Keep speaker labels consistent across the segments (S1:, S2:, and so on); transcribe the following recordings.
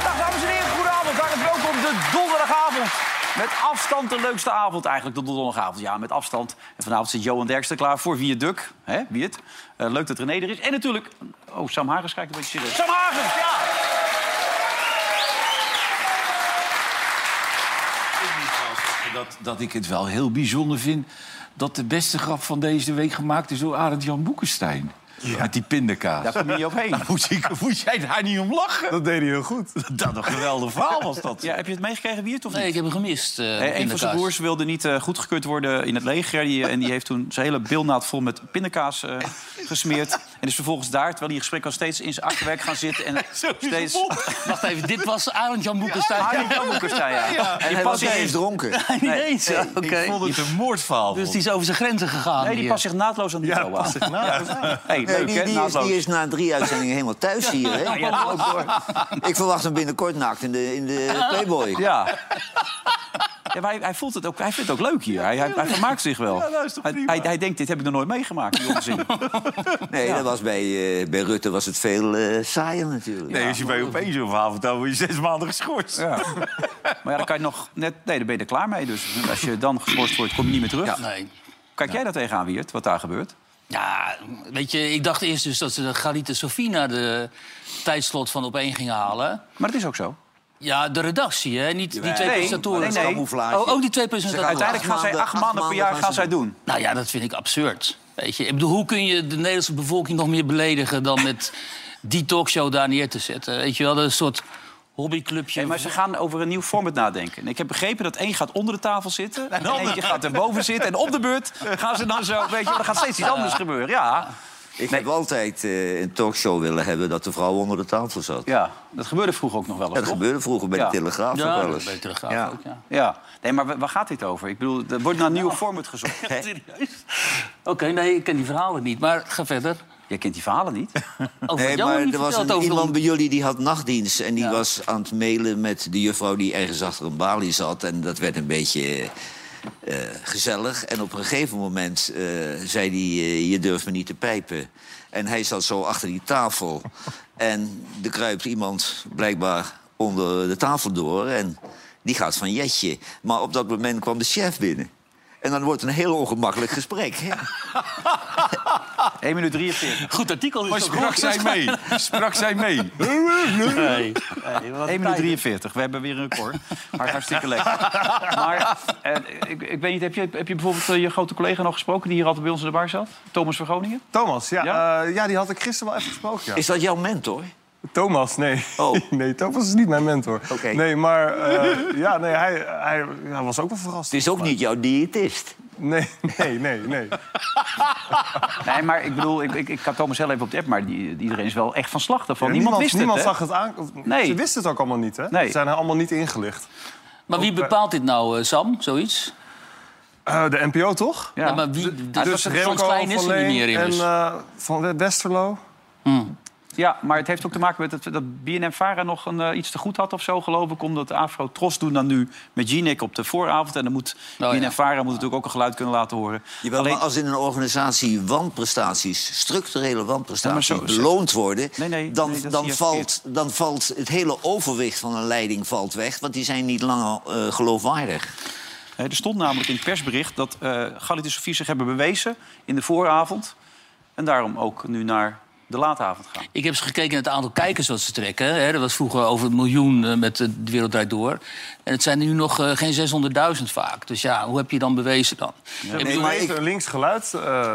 S1: Dag Nou, dames en heren, goedenavond. Hartelijk welkom de donderdagavond. Met afstand de leukste avond eigenlijk, de donderdagavond. Ja, met afstand. En vanavond zit Johan Derksen klaar voor Wie het Duk. Hè, wie het. Eh, leuk dat René er is. En natuurlijk... Oh, Sam Hagens kijkt een beetje serieus. Sam Hagens, ja!
S2: Dat, dat ik het wel heel bijzonder vind dat de beste grap van deze week gemaakt is door Arend Jan Boekenstein. Met die pindakaas.
S1: Daar kom je niet op heen.
S2: Moest, ik, moest jij daar niet om lachen? Dat deed hij heel goed. Dat een geweldig verhaal was dat.
S1: Ja, heb je het meegekregen, Wie het, of niet?
S3: Nee, ik heb hem gemist. eh,
S1: Eh, een van
S3: pindakaas.
S1: zijn broers wilde niet eh, goedgekeurd worden in het leger. Die, eh, en die heeft toen zijn hele bilnaad vol met pindakaas eh, gesmeerd. En is vervolgens daar, terwijl hij in gesprek was, steeds in zijn achterwerk gaan zitten. En steeds...
S3: Wacht even, dit was Arend Jan Boekenstein.
S1: Harry Boekenstein, ja. En pas
S4: Hij was
S1: in
S4: niet eens dronken.
S3: Niet eens.
S1: nee,
S3: Oké.
S2: Ik vond het een moordverhaal.
S3: Dus die is over zijn grenzen gegaan.
S1: Nee, die
S3: hier.
S1: past zich naadloos aan de micro aan. Hey,
S4: Nee,
S1: leuk,
S4: die,
S1: hè?
S4: die, is,
S1: Naadloos.
S4: die is na drie uitzendingen helemaal thuis hier. Hè? Ik verwacht hem binnenkort naakt in de, in de Playboy.
S1: Ja. Ja, maar hij, hij voelt het ook, hij vindt het ook leuk hier. Hij, hij, hij vermaakt zich wel.
S2: dat nou, is toch
S1: hij,
S2: prima?
S1: hij, hij denkt, dit heb ik nog nooit meegemaakt. Die onzin.
S4: Nee, dat was bij, eh, bij Rutte was het veel eh, saaier natuurlijk.
S2: Nee, als je bij opeens zo'n verhaal vertelt, word je zes maanden geschorst.
S1: Maar ja, dan kan je nog net... Nee, dan ben je er klaar mee. Dus als je dan geschorst wordt, kom je niet meer terug.
S3: Nee.
S1: Kijk jij daar tegenaan, Wiert, wat daar gebeurt?
S3: Ja, weet je, ik dacht eerst dus dat ze de Garite Sofie naar de tijdslot van opeen gingen halen.
S1: Maar dat is ook zo.
S3: Ja, de redactie, hè? Niet die twee
S1: nee,
S3: presentatoren.
S1: nee, nee.
S4: Camouflage.
S3: Oh, ook die twee presentatoren.
S1: Uiteindelijk gaan zij
S4: maanden-
S1: acht
S4: acht
S1: maanden per
S4: maanden
S1: jaar
S4: gaan
S1: gaan
S4: ze
S1: zij doen.
S3: Nou ja, dat vind ik absurd. Weet je, ik bedoel, hoe kun je de Nederlandse bevolking nog meer beledigen dan met die talkshow daar neer te zetten? Weet je wel, een soort hobbyclubje.
S1: Nee, maar ze gaan over een nieuw format nadenken. En ik heb begrepen dat één gaat onder de tafel zitten... en eentje gaat erboven zitten. En op de beurt gaan ze dan zo... Weet je, wel, er gaat steeds iets anders gebeuren. Ja,
S4: Ik heb altijd eh, een talkshow willen hebben dat de vrouw onder de tafel zat.
S1: ja dat gebeurde vroeger ook nog wel eens,
S4: Ja, dat
S1: toch?
S4: gebeurde vroeger bij
S1: Ja.
S4: de Telegraaf
S3: ja,
S4: ook wel
S3: dat
S4: eens.
S3: ben je teruggaan
S4: Ja.
S3: ook, ja.
S1: Ja, nee, maar wa- waar gaat dit over? Ik bedoel, er wordt naar een nieuwe format gezocht. Hè?
S3: Serieus? Oké, nee, ik ken die verhalen niet, maar ga verder.
S1: Jij kent die verhalen niet.
S3: Over
S4: Nee,
S3: jou
S4: maar
S3: heb je
S4: er was
S3: verteld,
S4: een,
S3: over
S4: iemand
S3: de-
S4: bij jullie die had nachtdienst... en die
S3: Ja.
S4: was aan het mailen met de juffrouw die ergens achter een balie zat. En dat werd een beetje eh, gezellig. En op een gegeven moment eh, zei hij, eh, je durft me niet te pijpen. En hij zat zo achter die tafel. en er kruipt iemand blijkbaar onder de tafel door. En die gaat van jetje. Maar op dat moment kwam de chef binnen. En dan wordt het een heel ongemakkelijk gesprek. hè?
S1: 1 minuut 43.
S3: Goed artikel
S2: Maar
S3: is ook
S2: sprak zij mee? Sprak zij mee?
S1: 1 minuut 43. We hebben weer een record. Maar hartstikke lekker. Maar eh, ik, ik weet niet, heb je, heb je bijvoorbeeld eh, je grote collega nog gesproken... die hier altijd bij ons in de bar zat? Thomas van Groningen?
S5: Thomas, ja,
S1: Ja?
S5: ja? ja, die had ik gisteren wel even gesproken. Ja.
S4: Is dat jouw mentor?
S5: Thomas, nee.
S4: Oh.
S5: nee, Thomas is niet mijn mentor.
S4: Oké.
S5: Nee, maar eh, ja, nee, hij, hij, hij was ook wel verrast.
S4: Het is ook niet jouw diëtist.
S5: Nee, nee, nee, nee.
S1: Nee, maar ik bedoel, ik, ik, ik kan Thomas heel even op de app... maar die, iedereen is wel echt van slag daarvan.
S5: Ja,
S1: niemand, wist
S5: niemand
S1: het, hè?
S5: zag het aan. of-
S1: Nee.
S5: Ze wisten het ook allemaal niet, hè?
S1: Nee.
S5: Ze zijn er allemaal niet ingelicht.
S3: Maar wie bepaalt dit nou, eh, Sam, zoiets?
S5: Eh, de NPO, toch?
S1: Ja.
S3: Ja. maar wie,
S1: het
S3: dus
S1: was
S3: Frans
S5: Remco
S3: Klein is
S5: van
S3: er
S5: Leen
S3: niet meer dus-
S5: En
S1: dus.
S3: immers.
S5: eh, van Westerlo.
S1: Ja, maar het heeft ook te maken met dat, dat BNM-Vara nog een, eh, iets te goed had of zo, geloof ik. Omdat Afro Tros doen dan nu met Ginek op de vooravond. En dan moet
S3: ja.
S1: BNM-Vara moet natuurlijk ook een geluid kunnen laten horen.
S4: Jawel,
S1: Alleen-
S4: maar als in een organisatie wanprestaties, structurele wanprestaties
S1: Ja, maar zo-
S4: beloond worden,
S1: Nee, nee,
S4: dan,
S1: nee, dat zie
S4: dan,
S1: je
S4: valt, dan valt het hele overwicht van een leiding valt weg, want die zijn niet langer eh, geloofwaardig.
S1: Hè, Er stond namelijk in het persbericht dat eh Galit en Sofie zich hebben bewezen in de vooravond. En daarom ook nu naar de laatavond gaan.
S3: Ik heb eens gekeken naar het aantal kijkers wat ze trekken. Hè. Dat was vroeger over een miljoen eh, met eh, De Wereld Draait Door. En het zijn er nu nog eh, geen 600.000 vaak. Dus ja, hoe heb je dan bewezen dan? Ik bedoel,
S5: Nee,
S4: maar
S5: maar
S4: ik-
S5: links geluid eh,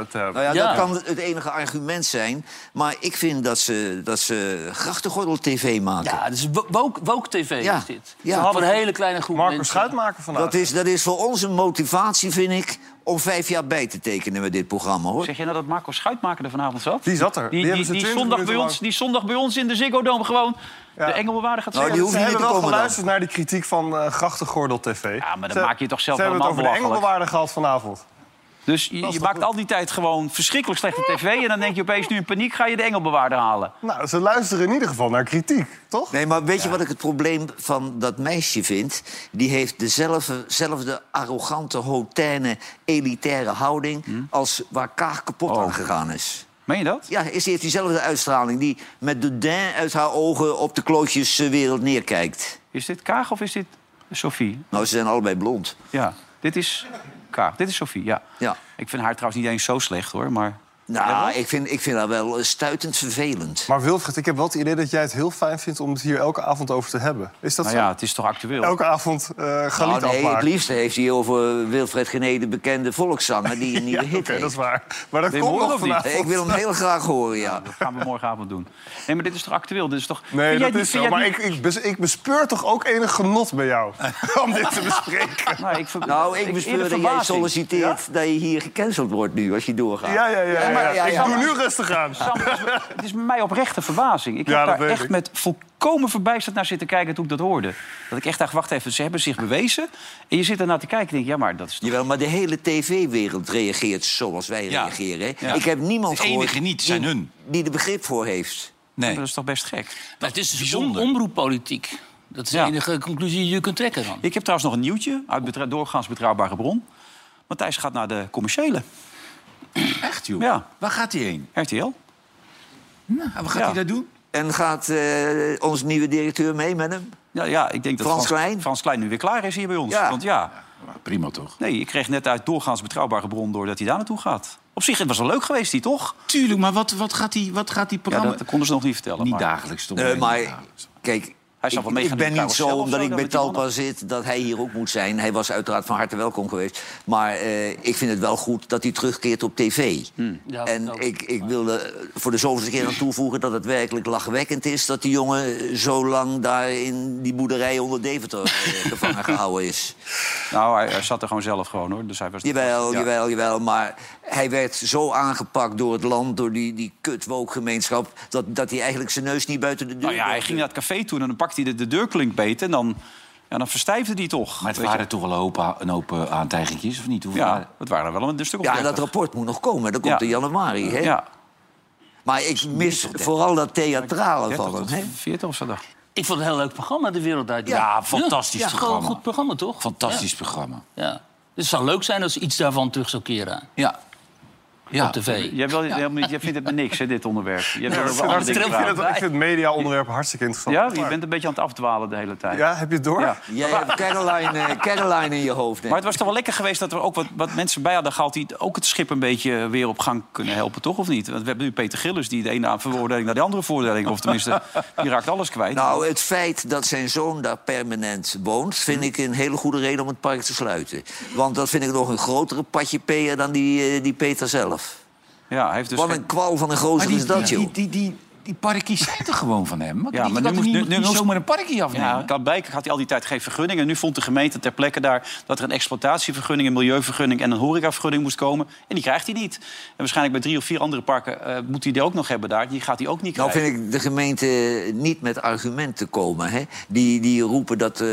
S5: te hebben.
S4: Nou ja,
S3: Ja.
S4: dat kan het enige argument zijn. Maar ik vind dat ze, dat ze grachtengordel-tv maken.
S3: Ja, het is wo- woke, woke tv
S4: Ja.
S3: is dit.
S4: Ja.
S3: Ja. Voor een hele kleine groep
S5: Marco
S3: mensen.
S5: Schuitmaker vandaag.
S4: Dat, is, dat is voor ons een motivatie, vind ik, om vijf jaar bij te tekenen met dit programma, hoor.
S1: Zeg jij nou dat Marco Schuitmaker er vanavond zat?
S5: Die zat er.
S1: Die, die,
S5: hebben ze
S1: die
S5: 20
S1: zondag bij
S5: minuten
S1: ons,
S5: lang-
S1: die zondag bij ons in de Ziggo Dome gewoon de engelbewaarder gaat
S4: Nou,
S1: zeggen.
S4: die hoeft
S5: Ze
S4: niet
S5: hebben
S4: te
S5: wel
S4: komen dan.
S5: geluisterd naar de kritiek van eh Grachtengordel TV.
S1: Ja, maar dan
S5: Ze-
S1: maak je het toch zelf
S5: Ze hebben het over
S1: helemaal
S5: de engelwaarde gehad vanavond.
S1: Dus je, je
S5: toch
S1: maakt
S5: goed?
S1: al die tijd gewoon verschrikkelijk slechte tv... en dan denk je opeens nu in paniek ga je de engelbewaarder halen.
S5: Nou, ze luisteren in ieder geval naar kritiek, toch?
S4: Nee, maar weet je wat ik het probleem van dat meisje vind? Die heeft dezelfde zelfde arrogante, hotaine, elitaire houding...
S5: Hm?
S4: als waar Kaag kapot
S5: Oh.
S4: aan gegaan is.
S1: Meen je dat?
S4: Ja, is- ze heeft diezelfde uitstraling die met de ding uit haar ogen... op de klootjeswereld neerkijkt.
S1: Is dit Kaag of is dit Sophie?
S4: Nou, ze zijn allebei blond.
S1: Ja, dit is Kaag. Dit is Sophie, ja.
S4: Ja.
S1: Ik vind haar trouwens niet eens zo slecht, hoor. Maar
S4: Nou, ik vind, ik vind haar wel eh, stuitend vervelend.
S5: Maar Wilfred, ik heb wel het idee dat jij het heel fijn vindt om het hier elke avond over te hebben. Is dat
S1: nou
S5: zo?
S1: ja, het is toch actueel?
S5: Elke avond eh
S4: Nou,
S5: galiet
S4: nee, het
S5: afmaken.
S4: liefste heeft hij over Wilfred Gené, de bekende volkszanger... die een nieuwe
S5: Ja, Oké,
S4: hit heeft.
S5: dat is waar. Maar dat
S1: Wil je
S5: komt
S1: hem
S5: nog
S1: horen of niet?
S5: vanavond.
S4: Ik wil hem heel graag horen, ja.
S1: Dat gaan we morgenavond doen. Nee, maar dit is toch actueel? Dit is toch... Vind
S5: Nee,
S1: jij
S5: dat
S1: niet-
S5: is
S1: vind
S5: zo.
S1: jij
S5: Maar
S1: niet-
S5: ik, ik, bes- ik bespeur toch ook enig genot bij jou om dit te bespreken.
S1: Nou, ik, ver-
S4: Nou, ik
S1: eerder
S4: bespeur dat jij
S1: verbazing.
S4: solliciteert dat je hier gecanceld wordt nu, als je doorgaat.
S5: Ja, ja, ja. ja,
S4: maar- ja, ja.
S5: Ik doe nu rustig aan.
S1: Sam, het is- het is mij oprechte verbazing. Ik
S5: Ja,
S1: heb
S5: dat
S1: daar
S5: weet
S1: echt
S5: ik.
S1: met volkomen verbijsterd naar zitten kijken toen ik dat hoorde. Dat ik echt dacht, wacht even, ze hebben zich bewezen. En je zit ernaar te kijken en denk, ja, maar dat is toch...
S4: Jawel, maar de hele tv-wereld reageert zoals wij
S2: Ja.
S4: reageren. hè.
S2: Ja.
S4: Ik heb niemand
S2: De enige
S4: gehoord
S2: niet zijn
S4: die,
S2: hun.
S4: die er begrip voor heeft.
S2: Nee.
S1: Dat is toch best gek.
S3: Maar het is dus
S2: Bijzonder.
S3: on- omroeppolitiek. Dat is
S1: Ja.
S3: de enige conclusie die je kunt trekken dan.
S1: Ik heb trouwens nog een nieuwtje uit betra- doorgaans betrouwbare bron. Matthijs gaat naar de commerciële,
S2: Echt, joh?
S1: Ja.
S2: Waar gaat hij heen?
S1: RTL.
S2: Nou, wat gaat
S1: Ja.
S2: hij daar doen?
S4: En gaat eh, onze nieuwe directeur mee met hem?
S1: Ja, ja, ik denk dat
S4: Frans Klein?
S1: Frans Klein nu weer klaar is hier bij ons.
S4: Ja.
S1: Want ja,
S2: Maar prima, toch?
S1: nee, ik kreeg net uit doorgaans betrouwbare bron door dat hij daar naartoe gaat. Op zich, het was wel leuk geweest, die toch?
S2: Tuurlijk, maar wat, wat, gaat, die, wat gaat die
S1: Ja,
S2: programma...
S1: dat, dat konden ze nog niet vertellen.
S2: Niet
S1: maar-
S2: dagelijks, toch?
S4: Nee, Eh, maar
S2: dagelijks.
S4: kijk,
S1: Hij zal nou,
S4: ik,
S1: wel mee
S4: ik
S1: gaan
S4: ben
S1: doen,
S4: niet zo
S1: carousel of
S4: omdat
S1: zo,
S4: ik
S1: dan
S4: bij
S1: met die
S4: Talpa
S1: mannen.
S4: zit dat hij hier ook moet zijn. Hij was uiteraard van harte welkom geweest. Maar eh, ik vind het wel goed dat hij terugkeert op tv.
S1: Hmm.
S3: Ja,
S4: en
S3: dat ook.
S4: ik, ik wilde voor de zoveelste keer aan toevoegen dat het werkelijk lachwekkend is... dat die jongen zo lang daar in die boerderij onder Deventer eh, gevangen gehouden is.
S1: Nou, hij, hij zat er gewoon zelf gewoon, hoor. Dus hij was
S4: Jawel,
S1: Ja.
S4: jawel, jawel. Maar hij werd zo aangepakt door het land, door die, die kutwookgemeenschap... Dat, dat hij eigenlijk zijn neus niet buiten de deur
S1: Nou ja, hij
S4: durfde.
S1: ging naar het café toen en dan pakte hij de, de deurklink beet... en dan, ja, dan verstijfde hij toch.
S2: Maar het
S1: Weet
S2: waren
S1: je?
S2: toch wel een hoop, a- een hoop eh, aantijgingjes, of niet? Hoeveel waren-
S1: Ja, het waren er wel een stuk of
S4: Ja, en
S1: 30.
S4: dat rapport moet nog komen. Dat komt
S1: Ja.
S4: in januari. Hè?
S1: Ja,
S4: Maar ik mis vooral dat theatrale van hem. Hè?
S1: 40 of zo. dacht ik.
S3: Ik vond het een heel leuk programma, De Wereld Draait Door.
S2: Ja, fantastisch
S3: ja,
S2: programma.
S3: Gewoon een goed programma, toch?
S2: Fantastisch programma.
S3: Ja. ja. Dus het zou leuk zijn als iets daarvan terug zou keren
S2: Ja. Ja.
S3: op tv.
S1: Jij, wil, helemaal niet- jij vindt het me niks, hè, dit onderwerp. Jij wil over
S5: Maar
S1: andere
S5: Ik
S1: dingen
S5: vind het,
S1: praten.
S5: ik vind het media-onderwerp hartstikke interessant.
S1: Ja, je bent een beetje aan het afdwalen de hele tijd.
S5: Ja, heb je het door?
S1: Ja.
S4: Jij hebt Caroline, eh, Caroline in je hoofd. Hè?
S1: Maar het was toch wel lekker geweest dat er ook wat, wat mensen bij hadden gehaald... die ook het schip een beetje weer op gang kunnen helpen, toch? Of niet? Want we hebben nu Peter Gillis, die de ene veroordeling naar de andere veroordeling... of tenminste, die raakt alles kwijt.
S4: Nou, het feit dat zijn zoon daar permanent woont...
S1: Mm.
S4: vind ik een hele goede reden om het park te sluiten. Want dat vind ik nog een grotere patjepeer dan die, eh, die Peter zelf.
S1: ja, hij heeft dus
S4: Wat
S1: geen-
S4: een kwal van een gozer is dat,
S2: die,
S4: joh.
S2: die, die, die parkies zijn er gewoon van hem.
S1: Ja,
S2: die
S1: maar
S2: maar
S1: nu
S2: kan nu,
S1: moet-
S2: niet,
S1: nu-
S2: nu,
S1: nu moet-
S2: zomaar een parkje
S1: Ja,
S2: afnemen.
S1: Katwijk had hij al die tijd geen vergunning. En nu vond de gemeente ter plekke daar dat er een exploitatievergunning, een milieuvergunning en een horecavergunning moest komen. En die krijgt hij niet. En waarschijnlijk bij drie of vier andere parken eh, moet hij die ook nog hebben daar. Die gaat hij ook niet
S4: Nou
S1: krijgen.
S4: vind ik de gemeente niet met argumenten komen. Hè? Die, die roepen dat eh,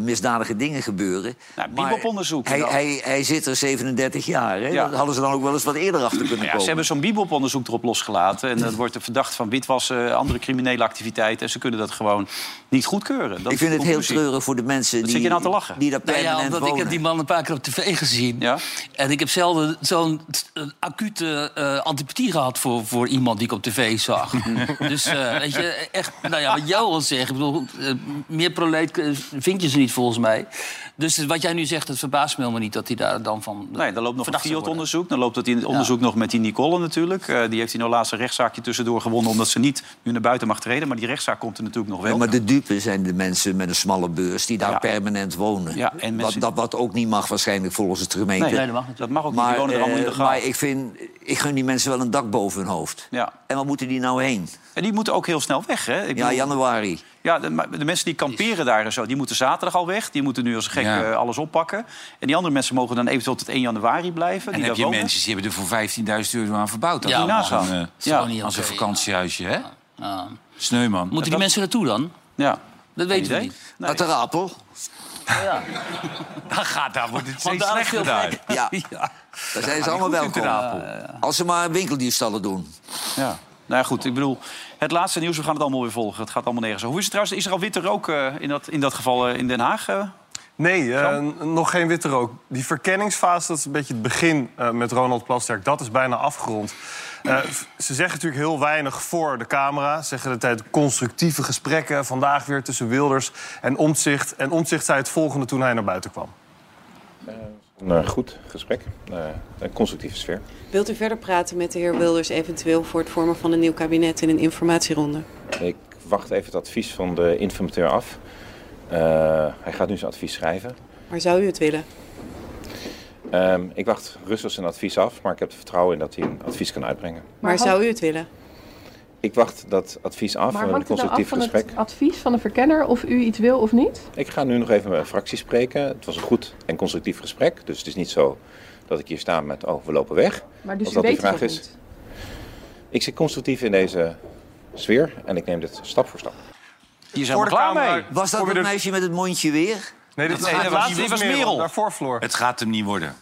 S4: misdadige dingen gebeuren.
S1: Nou,
S4: Maar
S1: biebeponderzoek
S4: Hij,
S1: dan.
S4: hij, hij zit er 37 jaar. Hè?
S1: Ja.
S4: Dat hadden ze dan ook wel eens wat eerder achter kunnen
S1: Ja,
S4: komen.
S1: ze hebben zo'n biebeloponderzoek erop losgelaten. En dat wordt er verdacht van witwassen, andere criminele activiteiten. En ze kunnen dat gewoon niet goedkeuren. Dat
S4: Ik
S1: is de
S4: vind het heel
S1: conclusie.
S4: treurig voor de mensen
S1: Wat
S4: die,
S1: zit je nou te lachen?
S4: die daar
S3: Nou
S4: permanent
S3: ja, omdat ik
S4: wonen.
S3: heb die man een paar keer op tv gezien.
S1: Ja?
S3: En ik heb zelden zo'n t- eh, acute eh, antipathie gehad voor, voor iemand die ik op tv zag. dus eh, weet je, echt, nou ja, wat jou al zegt. Ik bedoel, eh, meer proleet eh, vind je ze niet volgens mij. Dus wat jij nu zegt, het verbaast me helemaal niet dat hij daar dan van.
S1: Nee, dan loopt nog
S3: verdacht
S1: een
S3: zou worden.
S1: FIOD-onderzoek. Dan loopt dat in- onderzoek nog met die Nicole natuurlijk. Eh, die heeft hij nou laatst een rechtszaakje tussendoor gewonnen... omdat ze niet nu naar buiten mag treden. Maar die rechtszaak komt er natuurlijk nog wel.
S4: Ja, maar de dupe zijn de mensen met een smalle beurs die daar
S1: Ja.
S4: permanent wonen.
S1: Ja, en
S4: wat,
S1: mensen-
S4: dat, wat ook niet mag waarschijnlijk volgens het gemeente.
S1: Nee,
S3: dat mag niet.
S1: dat mag ook niet.
S4: Maar,
S1: Die wonen er
S4: eh,
S1: allemaal illegaal.
S4: maar ik vind, ik gun die mensen wel een dak boven hun hoofd.
S1: Ja.
S4: En waar moeten die nou heen?
S1: En die moeten ook heel snel weg, hè? Ik
S4: Ja,
S1: bedoel-
S4: januari.
S1: Ja, de, maar de mensen die kamperen daar en zo, die moeten zaterdag al weg. Die moeten nu als gek
S2: Ja.
S1: eh, alles oppakken. En die andere mensen mogen dan eventueel tot 1 januari blijven.
S2: En
S1: die
S2: heb
S1: daar
S2: je
S1: wonen.
S2: mensen die hebben er voor 15.000 euro aan verbouwd. Dat
S3: Ja,
S2: is
S1: maar-
S2: als een, eh,
S1: Dat is
S3: gewoon
S2: ja,
S3: niet
S2: als een
S3: oké,
S2: vakantiehuisje, hè?
S3: Ah.
S2: Sneuman.
S3: Moeten die mensen naartoe dan?
S1: Ja.
S3: Dat
S1: Geen
S3: weten we
S1: idee.
S3: niet.
S1: Nee.
S4: Wat een appel.
S2: Dan gaat daar wordt het
S3: Want
S2: steeds
S3: daar is
S2: slechter
S3: veel
S2: daar.
S3: plek.
S4: Ja, daar zijn ze allemaal welkom. Als ze maar winkeldiefstallen doen.
S1: Ja. Nou ja, goed, ik bedoel, het laatste nieuws, we gaan het allemaal weer volgen. Het gaat allemaal nergens over. Hoe is het trouwens, is er al witte rook eh, in, dat, in dat geval eh, in Den Haag? eh?
S5: Nee, eh, nog geen witte rook. Die verkenningsfase, dat is een beetje het begin eh, met Ronald Plasterk. Dat is bijna afgerond. Eh, f- ze zeggen natuurlijk heel weinig voor de camera. Ze zeggen de tijd constructieve gesprekken. Vandaag weer tussen Wilders en Omtzigt. En Omtzigt zei het volgende toen hij naar buiten kwam.
S6: Een eh, goed gesprek, eh, een constructieve sfeer.
S7: Wilt u verder praten met de heer Wilders eventueel voor het vormen van een nieuw kabinet in een informatieronde?
S6: Ik wacht even het advies van de informateur af. Eh, hij gaat nu zijn advies schrijven.
S7: Maar zou u het willen?
S6: Ehm, ik wacht rustig zijn advies af, maar ik heb er vertrouwen in dat hij een advies kan uitbrengen.
S7: Maar, zou u het willen?
S6: Ik wacht dat advies af en een constructief gesprek.
S8: advies nou van de verkenner of u iets wil of niet?
S6: Ik ga nu nog even met mijn fractie spreken. Het was een goed en constructief gesprek, dus het is niet zo dat ik hier sta met oh, we lopen weg.
S8: Maar dus
S6: Of dat die vraag is. Ik zit constructief in deze sfeer en ik neem dit stap voor stap.
S1: Die is helemaal
S5: Voor de
S1: klaar
S5: camera.
S1: mee.
S4: Was dat
S5: Kom je
S4: dat
S5: er-
S4: meisje met het mondje weer?
S5: Nee, dit
S1: nee, dat was- dit was Merel.
S5: Daarvoor Floor.
S2: Het gaat hem niet worden.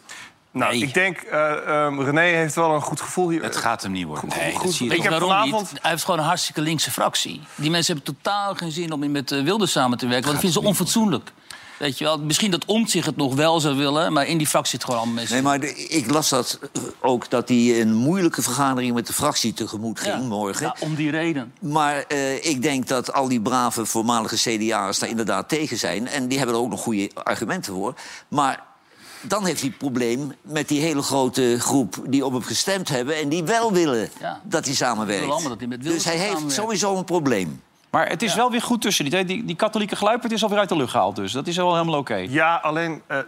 S5: Nou, ik denk, eh, ehm, René heeft wel een goed gevoel hier.
S2: Het gaat hem niet worden. Nee, dat zie je
S5: Ik
S2: toch.
S5: heb
S3: Waarom
S5: vanavond-
S3: niet? Hij heeft gewoon een hartstikke linkse fractie. Die mensen hebben totaal geen zin om met eh, Wilders samen te werken. Want dat vinden ze onfatsoenlijk. Weet je wel? Misschien dat Omtzigt het nog wel zou willen... maar in die fractie zit gewoon allemaal mensen.
S4: Nee, maar de- ik las dat eh, ook dat hij een moeilijke vergadering met de fractie tegemoet ging
S3: Ja.
S4: morgen.
S3: Ja, om die reden.
S4: Maar eh, ik denk dat al die brave voormalige CDA'ers daar inderdaad tegen zijn. En die hebben er ook nog goede argumenten voor. Maar dan heeft hij het probleem met die hele grote groep die op hem gestemd hebben... en die wel willen
S3: Ja.
S4: dat hij samenwerkt.
S3: willen allemaal dat hij met Wilders
S4: dus hij heeft
S3: samenwerkt.
S4: sowieso een probleem.
S1: Maar het is wel weer goed tussen die twee. Die, die katholieke gluipert is alweer uit de lucht gehaald, dus dat is wel helemaal oké.
S5: Ja, alleen eh,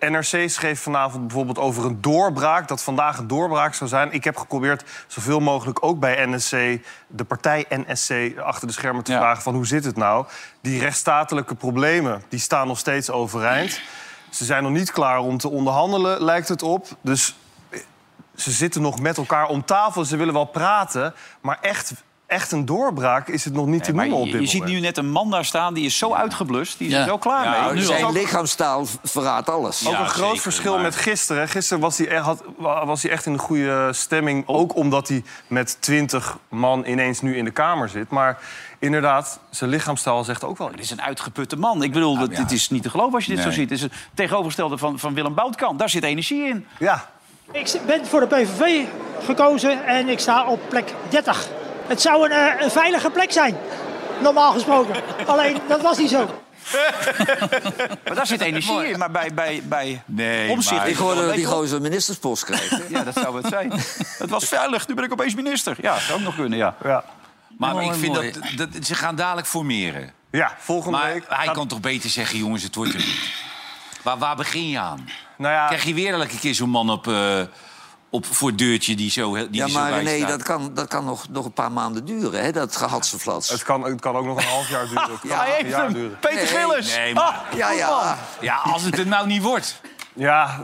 S5: eh, NRC schreef vanavond bijvoorbeeld over een doorbraak... dat vandaag een doorbraak zou zijn. Ik heb geprobeerd zoveel mogelijk ook bij NSC... de partij NSC achter de schermen te
S1: Ja.
S5: vragen van hoe zit het nou? Die rechtsstatelijke problemen die staan nog steeds overeind. Ze zijn nog niet klaar om te onderhandelen, lijkt het op. Dus eh, ze zitten nog met elkaar om tafel. Ze willen wel praten, maar echt, echt een doorbraak is het nog niet te
S1: Maar
S5: noemen op
S1: je,
S5: dit
S1: je
S5: moment.
S1: ziet nu net een man daar staan, die is zo uitgeblust. Die is
S3: Ja.
S1: er zo klaar
S2: Ja,
S1: mee.
S2: nu
S4: Zijn
S2: al.
S4: lichaamstaal v- verraadt alles.
S5: Ook
S2: Ja,
S5: een groot
S2: zeker,
S5: verschil
S2: maar-
S5: met gisteren. Gisteren was hij, echt, had, wa- was hij echt in de goede stemming. Ook omdat hij met twintig man ineens nu in de Kamer zit. Maar inderdaad, zijn lichaamstaal zegt ook wel
S1: Het
S5: iets.
S1: is een uitgeputte man. Ik bedoel, dat,
S2: ja.
S1: dit is niet te geloven als je dit
S2: Nee.
S1: zo ziet. Het is het tegenovergestelde van, van Willem Boutkamp. Daar zit energie in.
S5: Ja,
S9: Ik ben voor de PVV gekozen en ik sta op plek 30. Het zou een, eh, een veilige plek zijn, normaal gesproken. Alleen dat was niet zo.
S1: Maar daar zit energie in. Maar bij, bij, bij
S2: Nee,
S1: Omtzigt
S2: maar-
S1: is
S4: Ik
S1: het
S4: hoorde
S1: wel
S4: dat die
S1: een beetje-
S4: gozer een ministerspost krijgt.
S1: Ja, dat zou het zijn. Het was veilig, nu ben ik opeens minister. Ja, zou ook nog kunnen, ja.
S5: ja.
S2: Maar
S3: Mooi,
S2: ik vind
S3: mooi.
S2: dat, dat... Ze gaan dadelijk formeren.
S5: ja volgende
S2: Maar
S5: week...
S2: hij
S5: gaat-
S2: kan toch beter zeggen, jongens, het wordt hem niet. Waar, waar begin je aan?
S5: nou ja,
S2: Krijg je weer elke keer zo'n man op, eh, op voor het deurtje die zo heel- die
S4: Ja,
S2: er zo
S4: maar
S2: bij
S4: nee,
S2: staat?
S4: dat kan, dat kan nog, nog een paar maanden duren, hè, dat gehadseflats.
S5: het, kan, het kan ook nog een half jaar duren. Het kan
S4: Ja,
S5: nog
S1: Hij
S5: een
S1: heeft
S5: jaar
S1: hem,
S5: duren.
S1: Peter
S4: Nee,
S1: Gillis.
S2: nee, maar-
S1: Ah,
S4: Ja, ja.
S2: Ja, als het er nou niet wordt.
S5: Ja,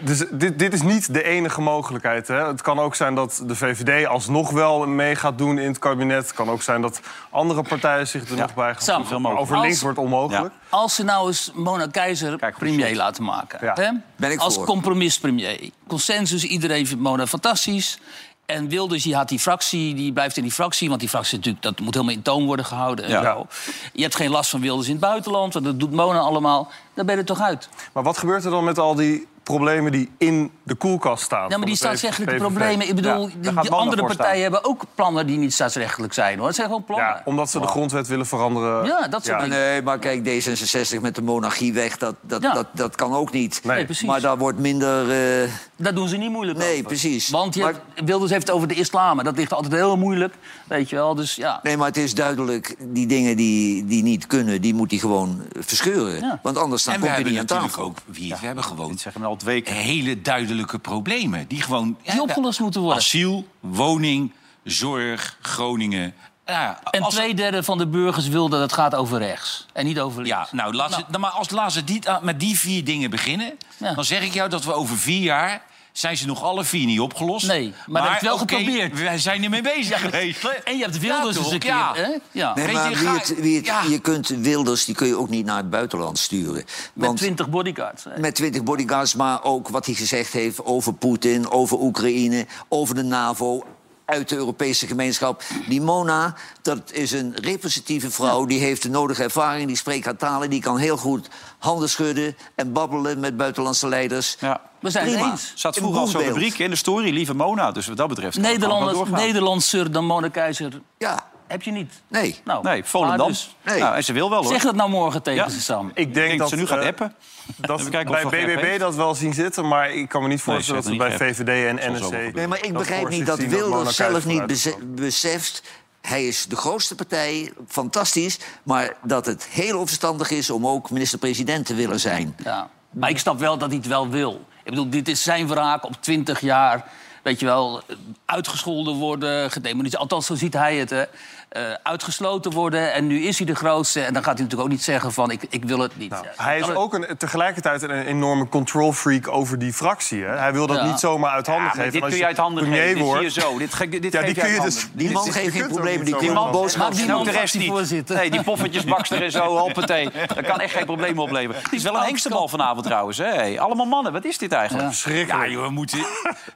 S5: dus dit, dit is niet de enige mogelijkheid. Hè? Het kan ook zijn dat de VVD alsnog wel mee gaat doen in het kabinet. Het kan ook zijn dat andere partijen zich er nog
S3: zou
S5: bij gaan
S3: veel
S5: voegen. Maar
S3: mogelijk.
S5: over links
S3: Als-
S5: wordt onmogelijk.
S3: Als ze nou eens Mona Keizer
S1: Kijk, goed
S3: premier
S1: shot.
S3: laten maken.
S5: Ja.
S3: Hè?
S4: Ben ik
S3: als
S4: voor.
S3: compromis-premier. Consensus, iedereen vindt Mona fantastisch. En Wilders, die had die fractie, die blijft in die fractie. Want die fractie natuurlijk, dat moet helemaal in toon worden gehouden. En
S1: Ja.
S3: zo. Je hebt geen last van Wilders in het buitenland, want dat doet Mona allemaal. Daar ben je er toch uit.
S5: Maar wat gebeurt er dan met al die problemen die in de koelkast staan?
S3: Ja, Nou, maar die staatsrechtelijke problemen. Ik bedoel, die-
S1: gaat
S3: die,
S1: Mona
S3: andere
S1: voor staan.
S3: partijen hebben ook plannen die niet staatsrechtelijk zijn. Hoor. Het zijn gewoon plannen.
S5: Ja, omdat ze de grondwet willen veranderen.
S3: Ja, dat soort dingen.
S4: Nee, maar kijk, D66 met de monarchie weg, dat, dat,
S3: Ja.
S4: dat, dat kan ook niet.
S5: Nee.
S3: Nee, precies.
S4: Maar daar wordt minder eh,
S3: Daar doen ze niet moeilijk
S4: Nee,
S3: over.
S4: precies.
S3: Want je
S4: Maar-
S3: hebt- Wilders heeft het over de islam. En dat ligt altijd heel moeilijk. Weet je wel, dus ja.
S4: Nee, maar het is duidelijk, die dingen die, die niet kunnen, die moet hij gewoon verscheuren.
S3: Ja.
S4: Want anders dan
S2: en we
S4: komt hij
S2: hebben
S4: niet aan
S2: natuurlijk
S4: tafel.
S2: ook... Wie, we hebben gewoon
S1: Dit zeggen we al twee weken.
S2: hele duidelijke problemen. Die gewoon...
S3: Die opgelost moeten worden.
S2: Asiel, woning, zorg, Groningen. Ja,
S3: En
S2: als-
S3: twee derde van de burgers wil dat het gaat over rechts. En niet over links.
S2: Ja, nou, laat ze- nou, maar als laat ze die, met die vier dingen beginnen...
S3: Ja.
S2: dan zeg ik jou dat we over vier jaar... zijn ze nog alle vier niet opgelost.
S3: Nee, maar dat heb je wel
S2: oké,
S3: geprobeerd.
S2: Wij zijn ermee bezig geweest.
S3: En je hebt Wilders
S2: Ja,
S3: eens een
S2: toch?
S3: keer.
S2: Ja.
S3: Hè? Ja.
S4: Nee,
S2: Weet
S4: maar
S2: je,
S4: wie
S2: ga-
S4: het, wie het,
S2: ja.
S4: je kunt Wilders, die kun je ook niet naar het buitenland sturen.
S3: Met
S4: Want
S3: 20 bodyguards. hè.
S4: met 20 bodyguards, maar ook wat hij gezegd heeft over Poetin, over Oekraïne, over de NAVO. Uit de Europese gemeenschap. Die Mona, dat is een representatieve vrouw. Die heeft de nodige ervaring, die spreekt haar talen. Die kan heel goed handen schudden en babbelen met buitenlandse leiders.
S1: Ja.
S3: We zijn het
S4: Prima.
S3: eens.
S1: Zat
S4: Een
S1: vroeger al zo'n
S4: boegbeeld.
S1: rubriek in de story, lieve Mona. Dus wat dat betreft... kan het gewoon
S3: Nederlanders,
S1: wel doorgaan.
S3: Nederlandser dan Mona Keizer
S4: Ja,
S3: heb je niet.
S4: nee.
S3: Nou,
S1: Nee, Volendam.
S3: maar dus-
S4: nee.
S1: Nou, en ze wil wel, hoor.
S3: zeg dat nou morgen tegen
S1: Ja.
S3: ze, Sam.
S5: Ik denk,
S1: Ik denk dat ze nu gaat
S5: eh,
S1: appen.
S5: Dat
S1: Even
S5: we
S1: kijken of
S5: bij
S1: ze nog app
S5: BBB
S1: heeft.
S5: dat wel zien zitten, maar ik kan me niet
S1: Nee,
S5: voorstellen
S1: ze
S5: dat
S1: heeft
S5: het
S1: het
S5: bij
S1: niet
S5: VVD en
S1: zal zo wel
S5: NSC...
S1: gebeuren.
S4: Nee, maar ik
S5: dat
S4: begrijp
S5: voor
S4: niet
S5: zich
S4: dat
S5: zien dat Mona
S4: Wilders
S5: Kuijs
S4: zelf niet
S5: vooruit
S4: bese-
S5: kan.
S4: beseft... Hij is de grootste partij, fantastisch... maar dat het heel onverstandig is om ook minister-president te willen zijn.
S3: Ja. Maar ik snap wel dat hij het wel wil. Ik bedoel, dit is zijn wraak op 20 jaar. Weet je wel, uitgescholden worden, gedemoniseerd. Althans, zo ziet hij het. Hè. Eh, uitgesloten worden en nu is hij de grootste. En dan gaat hij natuurlijk ook niet zeggen van, ik, ik wil het niet.
S5: Nou,
S3: Ja.
S5: hij is
S3: Maar-
S5: ook een, tegelijkertijd een enorme control freak over die fractie. Hè? Hij wil dat
S3: Ja.
S5: niet zomaar uit handen
S1: Ja, maar
S5: geven.
S1: dit
S5: Als
S1: kun je uit handen
S5: premier
S1: geven. Dit zie je
S5: wordt-
S1: zo. Dit, ge- dit
S5: Ja,
S1: geef
S5: die
S1: je
S5: kun
S1: uit
S5: je
S1: handen.
S5: dus...
S4: Die man
S5: dit-
S4: geeft
S5: je
S4: geen
S5: kunt ook
S4: problemen,
S5: niet
S4: die
S5: zomaar
S4: kun je
S5: uit handen
S4: boodschap...
S3: Maakt die
S1: En ook
S3: man
S1: Nou, de rest niet.
S3: fractievoorzitter.
S1: Nee, die poffertjesbakster en zo, hoppatee. Dat kan echt geen probleem opleveren. Het is wel een hengstenbal vanavond trouwens. Hè? Hey, Allemaal mannen, wat is dit eigenlijk?
S2: Ja, joh, we moeten...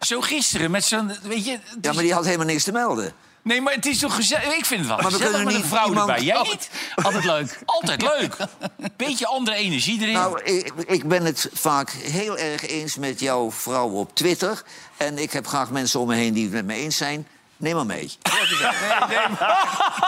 S2: Zo gisteren met zo'n... Weet je, het
S4: Ja,
S2: is-
S4: maar die had helemaal niks te melden.
S2: Nee, maar het is toch gezellig? Ik vind het wel
S4: we
S2: gezellig
S4: kunnen
S2: met een
S4: niet
S2: vrouw
S4: iemand-
S2: erbij. Jij niet?
S3: Altijd leuk.
S2: Altijd leuk. Beetje andere energie erin.
S4: Nou, ik, ik ben het vaak heel erg eens met jouw vrouw op Twitter... en ik heb graag mensen om me heen die het met me eens zijn. Neem maar mee.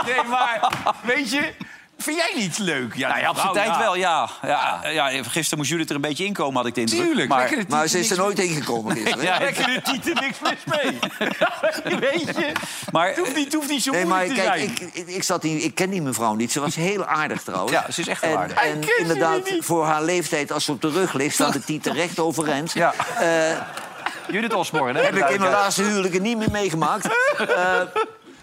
S2: nee, maar weet je, vind jij niet leuk? Ja,
S1: Nou ja, op zijn tijd wel, ja. ja, ja. Gisteren moest Judith er een beetje inkomen, had ik de indruk.
S2: Tuurlijk.
S1: maar
S2: lekker,
S4: Maar ze is er nooit ingekomen gisteren.
S1: Ja,
S4: hè?
S1: lekkere tieten, niks mis mee. Weet je. Maar, het, hoeft niet, het hoeft niet zo
S4: Nee, maar
S1: moeilijk
S4: kijk,
S1: te zijn.
S4: ik, ik, ik zat hier, ik ken die mevrouw niet. Ze was heel aardig trouwens.
S1: Ja, ze is echt wel
S4: En-
S1: aardig.
S4: En, inderdaad, voor haar leeftijd, als ze op de rug ligt... staat de tieten recht overeind.
S1: Ja. Judith Osborne, hè?
S4: Heb ik in mijn laatste huwelijken niet meer meegemaakt. Eh,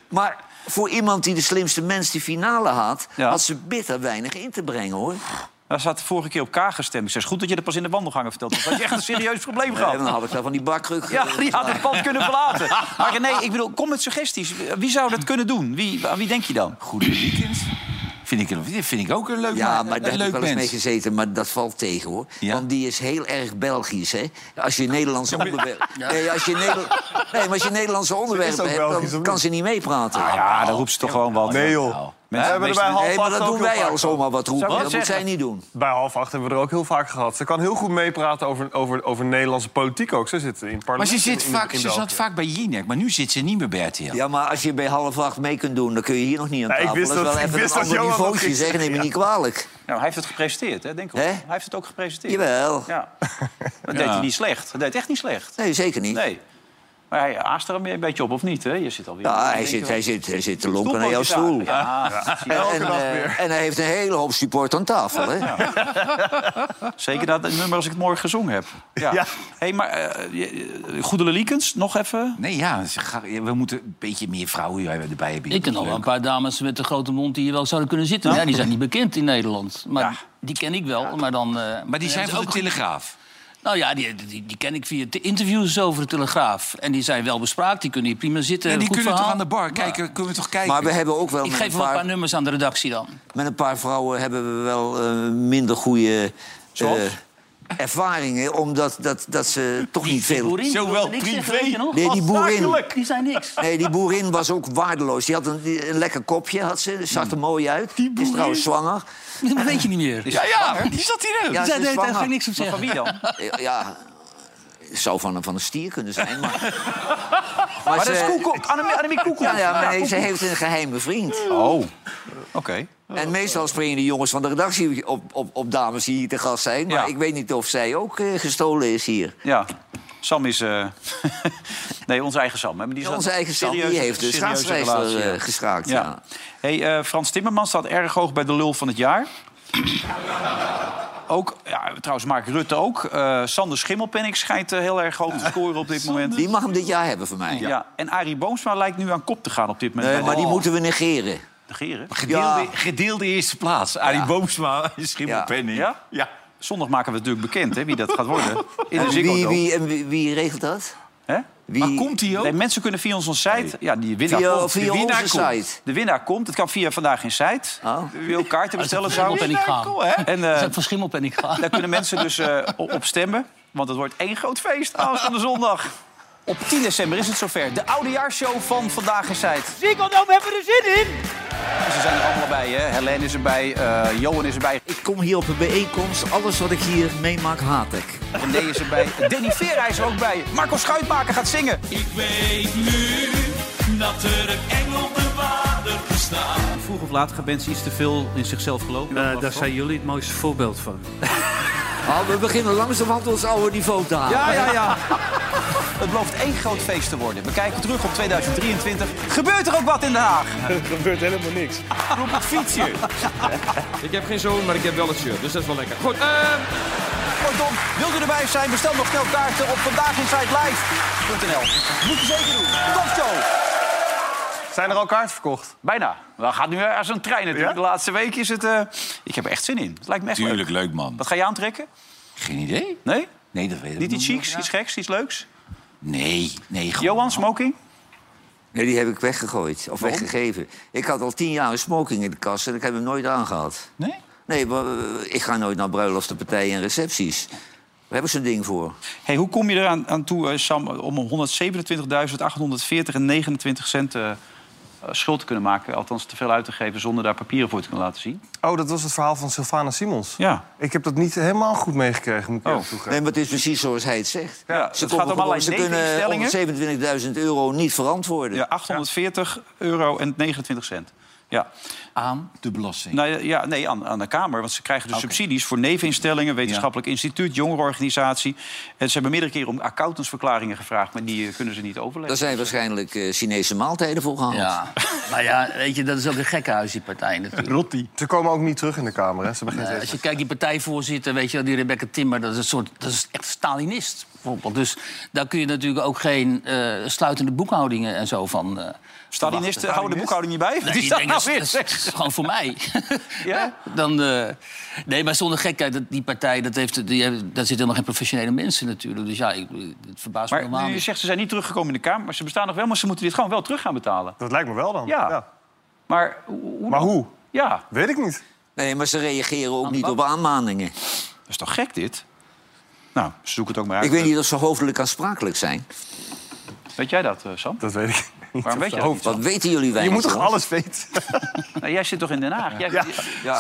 S4: maar voor iemand die de slimste mens die finale had...
S1: Ja.
S4: had ze bitter weinig in te brengen, hoor.
S1: Daar zat vorige keer op K gestemd. Ik zei, is goed dat je dat pas in de wandelgangen vertelt. Want dan had je echt een serieus probleem
S4: En
S1: gehad.
S4: dan had ik daar van die bakkruk...
S1: Ja,
S4: eh,
S1: die had het pand kunnen verlaten. Maar nee, ik bedoel, kom met suggesties. Wie zou dat kunnen doen? Wie, aan wie denk je dan?
S2: Goede weekend. Vind ik, een- vind ik ook een leuk
S4: Ja,
S2: een
S4: maar daar heb ik
S2: leuk
S4: wel eens mee
S2: mens.
S4: gezeten, maar dat valt tegen hoor.
S2: Ja?
S4: Want die is heel erg Belgisch, hè? Als je Nederlandse onderwerpen. Nee, als je Nederla- nee, maar als je Nederlandse onderwerpen
S5: ook
S4: hebt,
S5: Belgisch,
S4: dan
S5: of
S4: kan
S5: niet?
S4: ze niet meepraten.
S1: Ja, dan roept ze toch gewoon wat.
S5: Nee,
S4: nou?
S5: joh. We
S1: Mensen-
S5: hebben er bij half
S4: nee, maar
S5: acht
S4: dat
S5: ook
S4: doen
S5: heel
S4: wij
S5: vaak
S4: al zomaar wat roepen.
S1: Zou ik
S4: Dat
S1: net
S4: moet zij
S1: zeggen.
S4: niet doen.
S5: Bij half acht hebben we er ook heel vaak gehad. Ze kan heel goed meepraten over, over, over Nederlandse politiek ook. Ze zit in het
S2: Maar
S5: parlement.
S2: ze, zit
S5: in- in-
S2: vaak,
S5: in
S2: ze zat
S5: België.
S2: vaak bij Jinek, maar nu zit ze niet meer bij RTL.
S4: Ja, maar als je bij half acht mee kunt doen, dan kun je hier nog niet aan
S5: Ja, ik
S4: tafel.
S5: wist
S4: dat is
S5: dat-
S4: wel
S5: ik
S4: even
S5: wist
S4: een
S5: dat
S4: ander
S5: Johan dat
S4: niveautje,
S5: ging
S4: zeg. Neem me niet kwalijk.
S1: Nou, hij heeft het gepresenteerd, hè, denk ik.
S4: Hè?
S1: Hij heeft het ook gepresenteerd.
S4: Jawel.
S1: Ja. Dat deed hij niet slecht. Dat deed echt niet slecht.
S4: Nee, zeker niet.
S1: Nee. Maar hij aast er een beetje op, of niet? Hè? Je zit alweer...
S4: Ja, hij,
S1: Denk je
S4: zit,
S1: wel.
S4: hij, zit, hij zit te lompen naar jouw stoel.
S1: Ja,
S4: En, en, eh, en hij heeft een hele hoop support aan tafel. Hè?
S1: zeker dat nummer als ik het morgen gezongen heb. Ja.
S5: Ja.
S1: hey, maar eh, je- eh, Goedele Liekens, nog even?
S2: Nee, ja, ze ga- ja, we moeten een beetje meer vrouwen hier erbij hebben.
S3: Ik ken al wel een paar dames met een grote mond die hier wel zouden kunnen zitten.
S2: Nou.
S3: Ja, die zijn niet bekend in Nederland. Maar
S1: Ja.
S3: die ken ik wel. Maar, dan, eh,
S2: Maar die zijn
S3: hebben ze
S2: van de Telegraaf.
S3: Nou ja, die, die, die ken ik via de interviews over de Telegraaf. En die zijn wel bespraakt, die kunnen hier prima zitten.
S2: En die
S3: goed
S2: kunnen toch
S3: verhaal.
S2: aan de bar
S3: Ja.
S2: kijken, kunnen we toch kijken.
S4: Maar we hebben ook wel
S3: Ik
S4: met
S3: geef
S4: een
S3: wel een paar
S4: paar
S3: nummers aan de redactie dan.
S4: Met een paar vrouwen hebben we wel eh, minder goede
S1: Zoals?
S4: eh, ervaringen. Omdat dat, dat ze toch niet veel...
S3: Boerin,
S2: Zowel
S3: wilde niks zeggen,
S2: privé-
S3: weet je nog?
S4: Nee, die boerin,
S3: Die zijn niks.
S4: nee, die boerin was ook waardeloos. Die had een, die- een lekker kopje, had ze, zag
S1: Hmm.
S4: er mooi uit. Die is trouwens zwanger.
S3: Dat weet je niet meer.
S2: Ja, ja, die zat hier ook.
S4: Ja, ze
S3: Zij-
S4: is
S3: daar- daar ga ik
S4: zwanger.
S3: niks op
S1: Maar van
S3: zeggen.
S1: wie dan?
S4: Eh, Ja, het zou van, een- van een stier kunnen zijn, maar... maar
S1: Maar dat
S4: ze-
S1: is Koekoek, Annemie, Annemie Koekoek.
S4: Ja, ja, maar nee,
S1: Koekoek.
S4: ze heeft een geheime vriend. Oh.
S1: Oh, oké.
S4: En meestal springen de jongens van de redactie op, op, op dames die hier te gast zijn. Maar
S1: Ja.
S4: ik weet niet of zij ook eh, gestolen is hier.
S1: Ja. Sam is... eh, nee, onze eigen Sam. hè, maar die is
S4: Ja,
S1: dan
S4: onze eigen Sam, die
S1: serieuze-
S4: heeft de
S1: serieuze
S4: schaatsrijster,
S1: relatie,
S4: eh,
S1: ja.
S4: geschaakt, ja.
S1: Hey, eh, Frans Timmermans staat erg hoog bij de lul van het jaar. ook, ja, trouwens Mark Rutte ook. Eh, Sander Schimmelpenninck schijnt eh, heel erg hoog te scoren op dit moment.
S4: Die mag hem dit jaar hebben voor mij.
S1: Ja. En Arie Boomsma lijkt nu aan kop te gaan op dit moment.
S4: Nee, maar die
S1: Oh.
S4: moeten we negeren.
S1: Negeren.
S2: Gedeelde,
S4: Ja.
S2: gedeelde eerste plaats. Arie Boomsma, Schimmelpenning.
S1: Ja?
S2: ja.
S1: Zondag maken we natuurlijk bekend hè, wie dat gaat worden. In de
S4: En wie,
S1: Ziggo Dome.
S4: wie, en wie, wie regelt dat?
S1: Hè?
S4: Wie...
S2: Maar komt hij ook?
S1: Nee, mensen kunnen via onze site... Ja, die winnaar
S4: Via-
S1: komt.
S4: via
S1: de winnaar
S4: onze
S1: komt.
S4: site.
S1: De winnaar komt. Het kan via Vandaag in Site.
S4: Oh.
S1: Wil je kaarten bestellen
S3: Schimmelpenning
S1: trouwens?
S3: gaan.
S1: En
S3: Als
S1: eh,
S3: ik van Schimmelpenning ga.
S1: daar kunnen mensen dus eh, op op stemmen. Want het wordt één groot feest aanstaande zondag. Op 10 december is het zover. De oudejaarsshow van Vandaag in Site.
S9: Ziggo
S10: nou,
S9: Dome hebben we er zin in!
S1: Ze zijn er allemaal bij, hè? Helene is erbij, eh Johan is erbij,
S4: Ik kom hier op een bijeenkomst. Alles wat ik hier meemaak, haat ik.
S1: René is erbij, Danny Vera is er ook bij. Marco Schuitmaker gaat zingen.
S10: Ik weet nu dat er een engel bewaarder bestaat.
S1: Vroeg of laat gaan mensen iets te veel in zichzelf geloven.
S10: Eh, daar zijn jullie het mooiste voorbeeld van.
S4: Oh, we beginnen langzamerhand ons oude niveau te halen.
S1: Ja, ja, ja. Het belooft één groot feest te worden. We kijken terug op 2023. Gebeurt er ook wat in Den Haag?
S5: gebeurt helemaal niks.
S1: Op het fietsje.
S10: Ik heb geen zoon, maar ik heb wel het shirt, dus dat is wel lekker. Goed, ehm.
S1: Kortom, wilt u erbij zijn? Bestel nog snel kaarten op vandaaginsidelive.nl. Moet je zeker doen. Top show.
S5: Zijn er al kaarten verkocht?
S1: Bijna. We gaan nu als een trein natuurlijk.
S5: Ja?
S1: De laatste week is het... eh, Ik heb er echt zin in. Het lijkt me echt
S2: Tuurlijk,
S1: leuk.
S2: leuk man.
S1: Wat ga je aantrekken?
S2: Geen idee.
S1: Nee?
S2: Nee, dat weet ik
S1: Niet iets
S2: nog
S1: chics,
S2: niet.
S1: iets geks, iets leuks?
S2: Nee, nee. gewoon-
S1: Johan, smoking?
S4: Nee, die heb ik weggegooid. Of weggegeven. Ik had al tien jaar een smoking in de kast en ik heb hem nooit aangehad.
S2: Nee?
S4: Nee, maar, eh, ik ga nooit naar bruiloften, partijen en recepties. Daar heb ik zo'n ding voor.
S1: Hey, hoe kom je eraan aan toe, eh, Sam, om 127.840 en 29 cent eh, eh, schuld te kunnen maken? Althans, te veel uit te geven zonder daar papieren voor te kunnen laten zien.
S5: Oh, dat was het verhaal van Sylvana Simons.
S1: Ja.
S5: Ik heb dat niet helemaal goed meegekregen, moet ik eerlijk toegeven.
S4: Nee, maar het is precies zoals hij het zegt.
S1: Ja, het
S4: konden
S1: gaat om allerlei
S4: gewoon- ze kunnen 127.000 euro niet verantwoorden.
S1: Ja, 840 euro en 29 cent. Ja.
S2: Aan de belasting.
S1: Nou, ja, ja, nee, aan, aan de Kamer. Want ze krijgen dus subsidies voor neveninstellingen, wetenschappelijk instituut, jongerenorganisatie. En ze hebben meerdere keren om accountantsverklaringen gevraagd, maar die eh, kunnen ze niet overleggen.
S4: Daar zijn waarschijnlijk eh, Chinese maaltijden voor gehaald.
S3: Ja, maar ja, weet je, dat is ook een gekkenhuis, die partij natuurlijk.
S2: Rotti.
S5: Ze komen ook niet terug in de Kamer, hè? Ze hebben geen
S3: Eh,
S5: zin.
S3: als je kijkt, die partijvoorzitter, weet je wel, die Rebecca Timmer... dat is, een soort, dat is echt Stalinist, bijvoorbeeld. Dus daar kun je natuurlijk ook geen eh, sluitende boekhoudingen en zo van... eh,
S1: Stalinisten houden de boekhouding niet bij.
S3: Nee,
S1: die
S3: ik
S1: staat
S3: denk,
S1: nou
S3: dat
S1: weer.
S3: is- dat is gewoon voor mij.
S1: Ja?
S3: Dan, eh, nee, maar zonder gekheid, dat, die partij, dat heeft, die, hebben- daar zitten helemaal geen professionele mensen natuurlijk. Dus ja, ik, het verbaast me
S1: Maar
S3: helemaal
S1: je
S3: niet.
S1: zegt, ze zijn niet teruggekomen in de Kamer, maar ze bestaan nog wel, maar ze moeten dit gewoon wel terug gaan betalen.
S5: Dat lijkt me wel dan.
S1: Ja. Maar hoe? hoe-
S5: Maar hoe?
S1: Ja,
S5: Weet ik niet.
S4: Nee, maar ze reageren ook niet op aanmaningen.
S1: dat is toch gek dit? Nou, zoek het ook maar uit.
S4: Ik weet niet of ze hoofdelijk aansprakelijk zijn.
S1: Weet jij dat, eh, Sam?
S5: Dat weet ik niet.
S1: Waarom weet je dat? niet,
S4: Wat weten jullie
S5: Je
S4: weinig?
S5: moet toch
S4: hoor?
S5: alles weten?
S1: Sam? Nou, jij zit toch in Den Haag? Jij,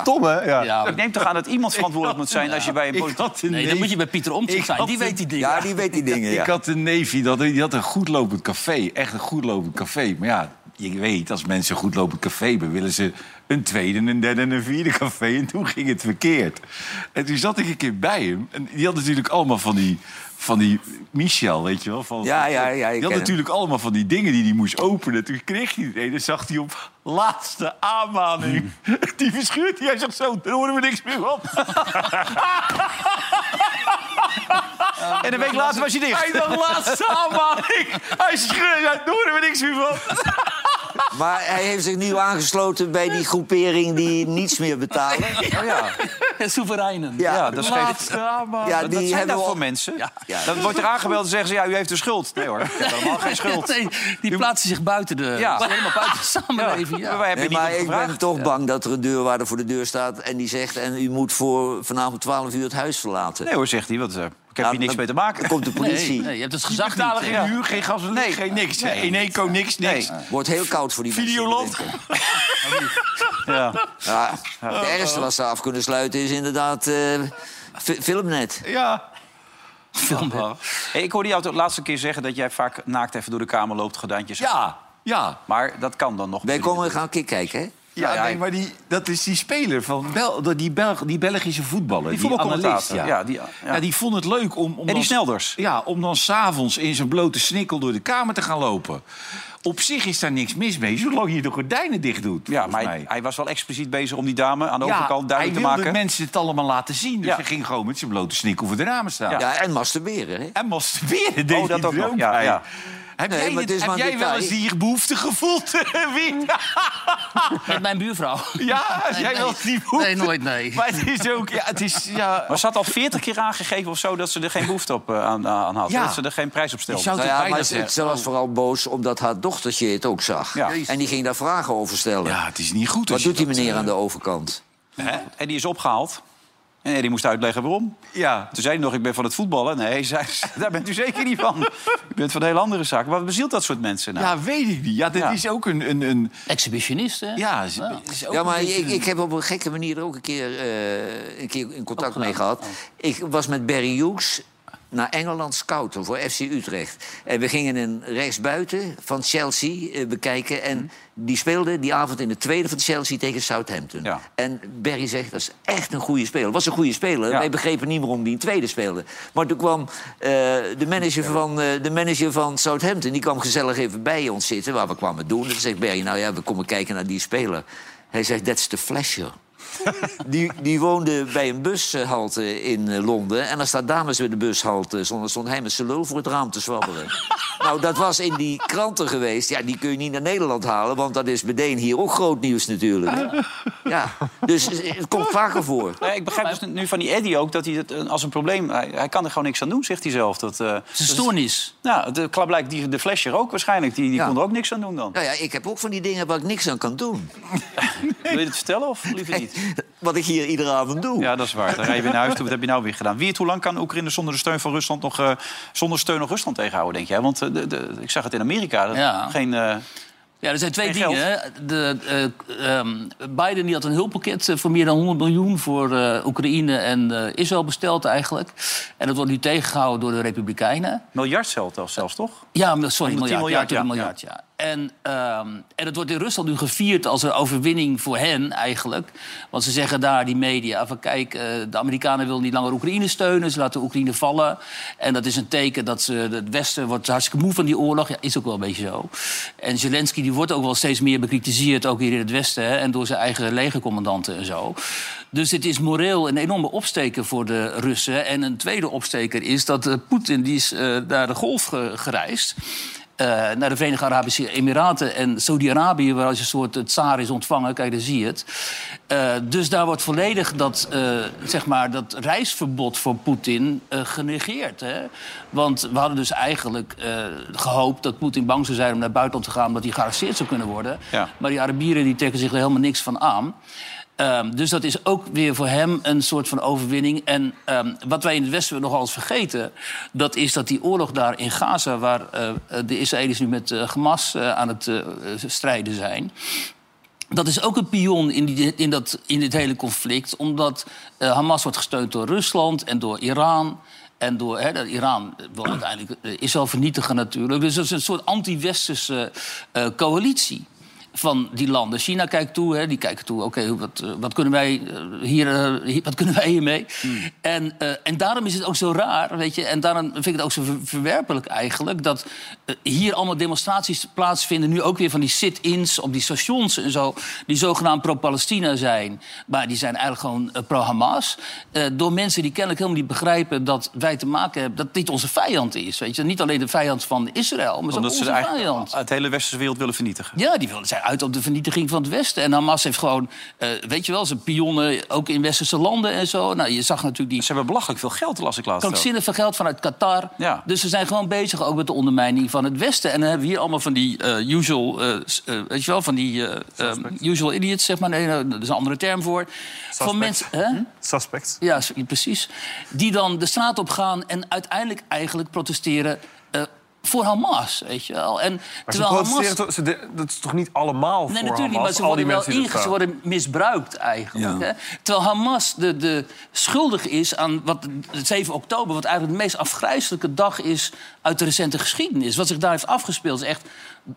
S5: Stom, hè? Ja.
S3: Ja,
S1: Ik neem toch aan dat iemand verantwoordelijk moet zijn als je bij een politiek...
S3: nee, dan moet je bij Pieter Omtzigt zijn, die weet die dingen.
S4: Ja, die weet die dingen,
S2: Ik
S4: ja.
S2: had een neef, die had, die had een goedlopend café. Echt een goedlopend café. Maar ja, je weet, als mensen een goedlopend café hebben... willen ze een tweede, een derde en een vierde café. En toen ging het verkeerd. En toen zat ik een keer bij hem. En die had natuurlijk allemaal van die... Van die Michel, weet je wel? Van,
S4: Ja, ja, ja,
S2: Die
S4: ik ken
S2: had
S4: hem.
S2: natuurlijk allemaal van die dingen die hij moest openen. Toen kreeg hij het een en zag hij op laatste aanmaning. Die verschuurt hij. Hij zegt zo, daar horen we niks meer op.
S1: En een week later was je dicht.
S2: Hij dacht, laatste aanmaning. Hij schreeuwt, daar horen we niks meer van.
S4: Maar hij heeft zich nu aangesloten bij die groepering die niets meer betalen. Oh, ja.
S3: Soevereinen.
S4: Ja,
S1: Ja, dat schreef...
S4: Ja,
S1: Wat
S4: die
S1: zijn
S4: hebben
S1: dat
S4: we
S1: voor
S4: al-
S1: mensen?
S4: Ja.
S1: Dan wordt er aangebeld en zeggen ze, ja, u heeft een schuld. Nee hoor, ik heb helemaal geen schuld.
S3: Nee, die plaatsen zich buiten de,
S1: Ja.
S3: helemaal buiten de samenleving. Ja.
S1: Maar wij hebben
S4: Nee,
S1: niet
S4: maar
S1: om
S4: ik
S1: gevraagd.
S4: ben toch bang dat er een deurwaarder voor de deur staat... en die zegt, en u moet voor vanavond 12 uur het huis verlaten.
S1: Nee hoor, zegt hij, want eh, ik heb
S4: Ja,
S1: hier niks
S4: dan-
S1: mee te maken.
S4: Dan komt de politie.
S3: Nee, nee, je hebt het
S2: Die
S3: gezag
S2: betalen
S3: niet, eh,
S2: geen
S3: hè.
S2: huur, geen gas, nee, geen niks. In Eco niks, niks.
S4: Wordt heel koud voor die
S2: Videoland.
S4: mensen. in de winter.
S1: Ja.
S4: Ja, het ergste wat ze af kunnen sluiten is inderdaad eh, fi- filmnet.
S2: Ja.
S1: Hey, ik hoorde jou de laatste keer zeggen dat jij vaak naakt even door de kamer loopt, gedantjes.
S2: Ja, ja.
S1: Maar dat kan dan nog.
S4: Wij komen gaan een keer kijken, hè?
S2: Ja, nee, maar die, dat is die speler van Bel, die, Belg, die Belgische voetballer.
S1: Die
S2: Die,
S1: voetbalcommentator.
S2: analist,
S1: Ja,
S2: ja. Ja,
S1: die-
S2: die,
S1: ja.
S2: vond het leuk om... om
S1: En die
S2: dan-
S1: snelders.
S2: Ja, om dan s'avonds in zijn blote snikkel door de kamer te gaan lopen. Op zich is daar niks mis mee, zolang je de gordijnen dicht doet.
S1: Ja, maar hij,
S2: mij.
S1: hij was wel expliciet bezig om die dame aan de
S2: Ja,
S1: overkant duidelijk
S2: hij
S1: te
S2: wilde
S1: maken.
S2: mensen het allemaal laten zien. Dus
S1: Ja.
S2: hij ging gewoon met zijn blote snikkel voor de ramen staan.
S4: Ja, en masturberen. Hè?
S2: En masturberen deed
S1: Oh, dat
S2: hij
S1: ook
S2: er
S1: nog. Ja,
S2: bij.
S1: ja.
S2: Heb
S4: Nee,
S2: jij,
S4: maar het is
S2: heb
S4: maar een
S2: jij wel eens
S4: detail.
S2: die behoefte gevoeld, Wien?
S3: Met mijn buurvrouw.
S2: Ja, heb
S3: Nee,
S2: jij
S3: nee.
S2: wel eens die behoefte?
S3: Nee, nooit, nee.
S2: Maar het is ook... Ja, het is, ja,
S1: Maar ze had al 40 keer aangegeven of zo dat ze er geen behoefte op, eh, aan, aan had.
S2: Ja.
S1: Dat ze er geen prijs op stelde.
S2: Die zou-
S4: Nou
S2: het
S4: ja,
S2: bijna Oh.
S4: maar ze,
S2: zeggen.
S4: ze was vooral boos omdat haar dochtertje het ook zag.
S1: Ja.
S4: En die ging daar vragen over stellen.
S2: ja, het is niet goed.
S4: Wat
S2: als je
S4: doet die
S2: dat,
S4: meneer
S2: eh,
S4: aan de overkant?
S1: En die is opgehaald. En Eddie moest uitleggen waarom.
S2: Ja,
S1: Toen zei hij nog, ik ben van het voetballen. Nee, zei ze, daar bent u zeker niet van. U bent van een hele andere zaak. Wat bezielt dat soort mensen nou?
S2: ja, weet ik niet. Ja, dit
S1: Ja.
S2: is ook een... een, een
S3: Exhibitionist, hè?
S2: ja, is, is ook
S4: Ja, maar
S2: een beetje
S4: ik,
S2: een-
S4: ik heb op een gekke manier er ook een keer, eh, een keer in contact mee
S2: Oh.
S4: gehad. Ik was met Barry Hughes naar Engeland scouten voor FC Utrecht. En we gingen een rechtsbuiten van Chelsea eh, bekijken.
S2: Hm.
S4: En die speelde die avond in de tweede van Chelsea tegen Southampton.
S1: Ja.
S4: En Barry zegt, dat is echt een goede speler. Was een goede speler.
S1: Ja.
S4: Wij begrepen niet waarom die een tweede speelde. Maar toen kwam eh, de, manager van, eh, de manager van Southampton... die kwam gezellig even bij ons zitten, waar we kwamen doen. En toen zegt Barry, nou ja, we komen kijken naar die speler. Hij zegt, that's the flasher. Die, die woonde bij een bushalte in eh, Londen. En als daar dames bij de bushalte stonden... stond hij met zijn lul voor het raam te zwabberen. nou, dat was in die kranten geweest. Ja, die kun je niet naar Nederland halen... want dat is meteen hier ook groot nieuws natuurlijk. ja, dus eh, het komt vaker voor.
S1: Nee, ik begrijp dus nu van die Eddie ook dat hij het eh, als een probleem... Hij, hij kan er gewoon niks aan doen, zegt hij zelf. Dat, eh,
S3: Het is een stoornis.
S1: nou, de, blijkt die, de flesje ook waarschijnlijk. Die, die
S4: Ja.
S1: kon er ook niks aan doen dan.
S4: Nou ja, ik heb ook van die dingen waar ik niks aan kan doen.
S1: Wil je het vertellen of liever niet?
S4: Wat ik hier iedere avond doe.
S1: Ja, dat is waar. Dan rij je weer naar huis toe. Wat heb je nou weer gedaan? Wie het, hoe lang kan Oekraïne zonder de steun van Rusland nog, eh, zonder steun nog Rusland tegenhouden, denk jij? Want eh, de, de- ik zag het in Amerika. Dat
S3: Ja.
S1: Geen, eh,
S3: Ja, er zijn twee
S1: En
S3: dingen. hè. De, eh, ehm, Biden die had een hulppakket eh, voor meer dan 100 miljoen voor eh, Oekraïne en eh, Israël besteld eigenlijk. En dat wordt nu tegengehouden door de Republikeinen.
S1: miljard geld al zelfs, toch?
S3: Ja, maar- sorry,
S1: 110
S3: miljard.
S1: miljard,
S3: miljard,
S1: ja,
S3: miljard ja. En, ehm, en het wordt in Rusland nu gevierd als een overwinning voor hen eigenlijk. Want ze zeggen daar, die media, van kijk, eh, de Amerikanen willen niet langer Oekraïne steunen. Ze laten Oekraïne vallen. En dat is een teken dat ze, het Westen wordt hartstikke moe van die oorlog. Ja, is ook wel een beetje zo. En Zelensky die wordt ook wel steeds meer bekritiseerd, ook hier in het Westen. Hè, en door zijn eigen legercommandanten en zo. Dus dit is moreel een enorme opsteker voor de Russen. En een tweede opsteker is dat eh, Poetin, die is eh, naar de golf ge- gereisd. eh, naar de Verenigde Arabische Emiraten en Saudi-Arabië, waar als een soort eh, tsaar is ontvangen. Kijk, daar zie je het. Eh, dus daar wordt volledig dat, eh, zeg maar, dat reisverbod voor Poetin eh, genegeerd. Hè? Want we hadden dus eigenlijk eh, gehoopt dat Poetin bang zou zijn om naar het buitenland te gaan, omdat hij gearresteerd zou kunnen worden.
S1: Ja.
S3: Maar die Arabieren die trekken zich er helemaal niks van aan. Ehm, dus dat is ook weer voor hem een soort van overwinning. En ehm, wat wij in het Westen nogal eens vergeten... dat is dat die oorlog daar in Gaza... waar eh, de Israëli's nu met eh, Hamas eh, aan het eh, strijden zijn... Dat is ook een pion in, die, in, dat, in dit hele conflict. Omdat eh, Hamas wordt gesteund door Rusland en door Iran. En door hè, dat Iran wil uiteindelijk eh, Israël vernietigen natuurlijk. Dus dat is een soort anti-westerse eh, coalitie van die landen. China kijkt toe, hè, die kijken toe. Oké, hoe- wat, eh, wat kunnen wij eh, hier, eh, hier- wat kunnen wij hiermee? En, eh, en daarom is het ook zo raar, weet je. En daarom vind ik het ook zo ver- verwerpelijk eigenlijk dat eh, hier allemaal demonstraties plaatsvinden. Nu ook weer van die sit-ins op die stations en zo. Die zogenaamd pro-Palestina zijn. Maar die zijn eigenlijk gewoon eh, pro-Hamas. Eh, door mensen die kennelijk helemaal niet begrijpen dat wij te maken hebben. dat dit onze vijand is. Weet je? Niet alleen de vijand van Israël, maar het is ook
S1: Omdat
S3: onze
S1: ze eigenlijk
S3: vijand.
S1: het hele westerse wereld willen vernietigen.
S3: Ja, die wilden zijn uit op de vernietiging van het Westen. En Hamas heeft gewoon, eh, weet je wel, zijn pionnen ook in westerse landen en zo. Nou, je zag natuurlijk die
S1: Ze hebben belachelijk veel geld, las ik laatst ook.
S3: krankzinnig veel geld vanuit Qatar.
S1: Ja.
S3: Dus ze zijn gewoon bezig ook met de ondermijning van het Westen. En dan hebben we hier allemaal van die eh, usual, eh, s- eh, weet je wel, van die eh, ehm, usual idiots, zeg maar. Nee, nou, dat is een andere term voor. Van mensen,
S5: Hm?
S3: hè?
S5: Suspect.
S3: Ja, s- precies. Die dan de straat op gaan en uiteindelijk eigenlijk protesteren eh, voor Hamas, weet je wel. En
S5: Maar ze
S3: terwijl
S5: protesteren
S3: Hamas...
S5: toch, ze de- dat is toch niet allemaal
S3: Nee,
S5: voor
S3: natuurlijk niet,
S5: Hamas,
S3: maar ze
S5: al die
S3: worden wel
S5: mensen die dat
S3: inge- ze
S5: vragen?
S3: worden misbruikt eigenlijk.
S5: Ja.
S3: Hè? Terwijl Hamas de, de schuldig is aan wat, het 7 oktober... wat eigenlijk de meest afgrijzelijke dag is uit de recente geschiedenis. Wat zich daar heeft afgespeeld is echt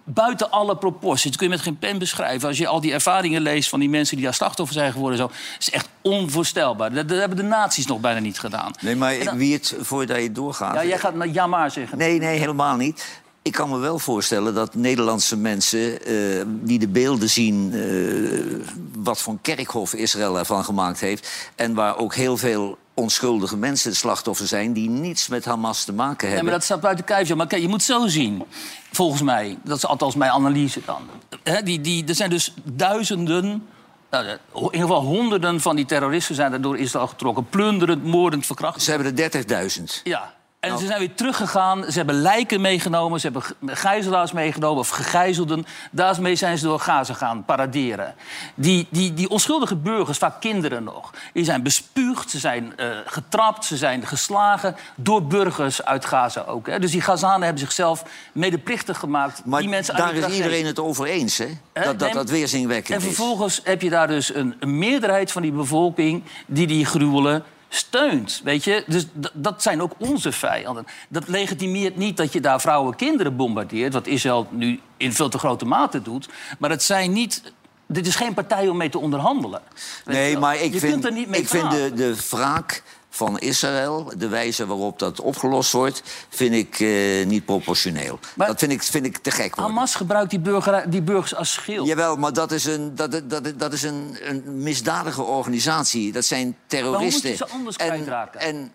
S3: buiten alle proporties. Dat kun je met geen pen beschrijven. Als je al die ervaringen leest van die mensen die daar slachtoffer zijn geworden... en Zo, is echt onvoorstelbaar. Dat, dat hebben de naties nog bijna niet gedaan.
S4: Nee, maar ik, wie het voordat je doorgaat.
S3: Ja, jij gaat naar ja maar zeggen.
S4: Nee, nee, helemaal niet. Ik kan me wel voorstellen dat Nederlandse mensen eh, die de beelden zien... eh, wat voor een kerkhof Israël ervan gemaakt heeft... en waar ook heel veel onschuldige mensen het slachtoffer zijn... die niets met Hamas te maken
S3: Nee,
S4: hebben.
S3: maar dat staat buiten kijf. joh. Maar kijk, je moet zo zien, volgens mij, dat is althans mijn analyse dan. Hè, die, die, er zijn dus duizenden, nou, eh, ho- in ieder geval honderden van die terroristen zijn daardoor Israël getrokken. Plunderend, moordend, verkracht.
S4: Ze hebben er 30.000.
S3: Ja. En
S4: Nou.
S3: ze zijn weer teruggegaan. Ze hebben lijken meegenomen. Ze hebben ge- gijzelaars meegenomen of gegijzelden. Daarmee zijn ze door Gaza gaan paraderen. Die, die, die onschuldige burgers, vaak kinderen nog... die zijn bespuugd, ze zijn eh, getrapt, ze zijn geslagen... door burgers uit Gaza ook. Hè. Dus die Gazanen hebben zichzelf medeplichtig gemaakt.
S4: Maar
S3: die mensen uit
S4: daar
S3: die
S4: is
S3: tragedie.
S4: iedereen het over eens, hè?
S3: Hè?
S4: Dat dat,
S3: Nee,
S4: dat weerzinwekkend
S3: En
S4: is.
S3: vervolgens heb je daar dus een, een meerderheid van die bevolking die die gruwelen steunt. Weet je? Dus d- dat zijn ook onze vijanden. Dat legitimeert niet dat je daar vrouwen en kinderen bombardeert, wat Israël nu in veel te grote mate doet. Maar het zijn niet. Dit is geen partij om mee te onderhandelen. Weet je
S4: Nee,
S3: wel.
S4: maar ik
S3: je
S4: vind,
S3: kunt er niet mee
S4: ik vind
S3: praten.
S4: de, de wraak van Israël, de wijze waarop dat opgelost wordt, vind ik eh, niet proportioneel. dat vind ik, vind ik te gek. worden.
S3: Hamas gebruikt die, burger, die burgers als schild.
S4: Jawel, maar dat is, een, dat, dat, dat is een, een misdadige organisatie. Dat zijn
S3: Maar hoe moet
S4: terroristen.
S3: je ze anders
S4: En-
S3: kwijtraken?
S4: En,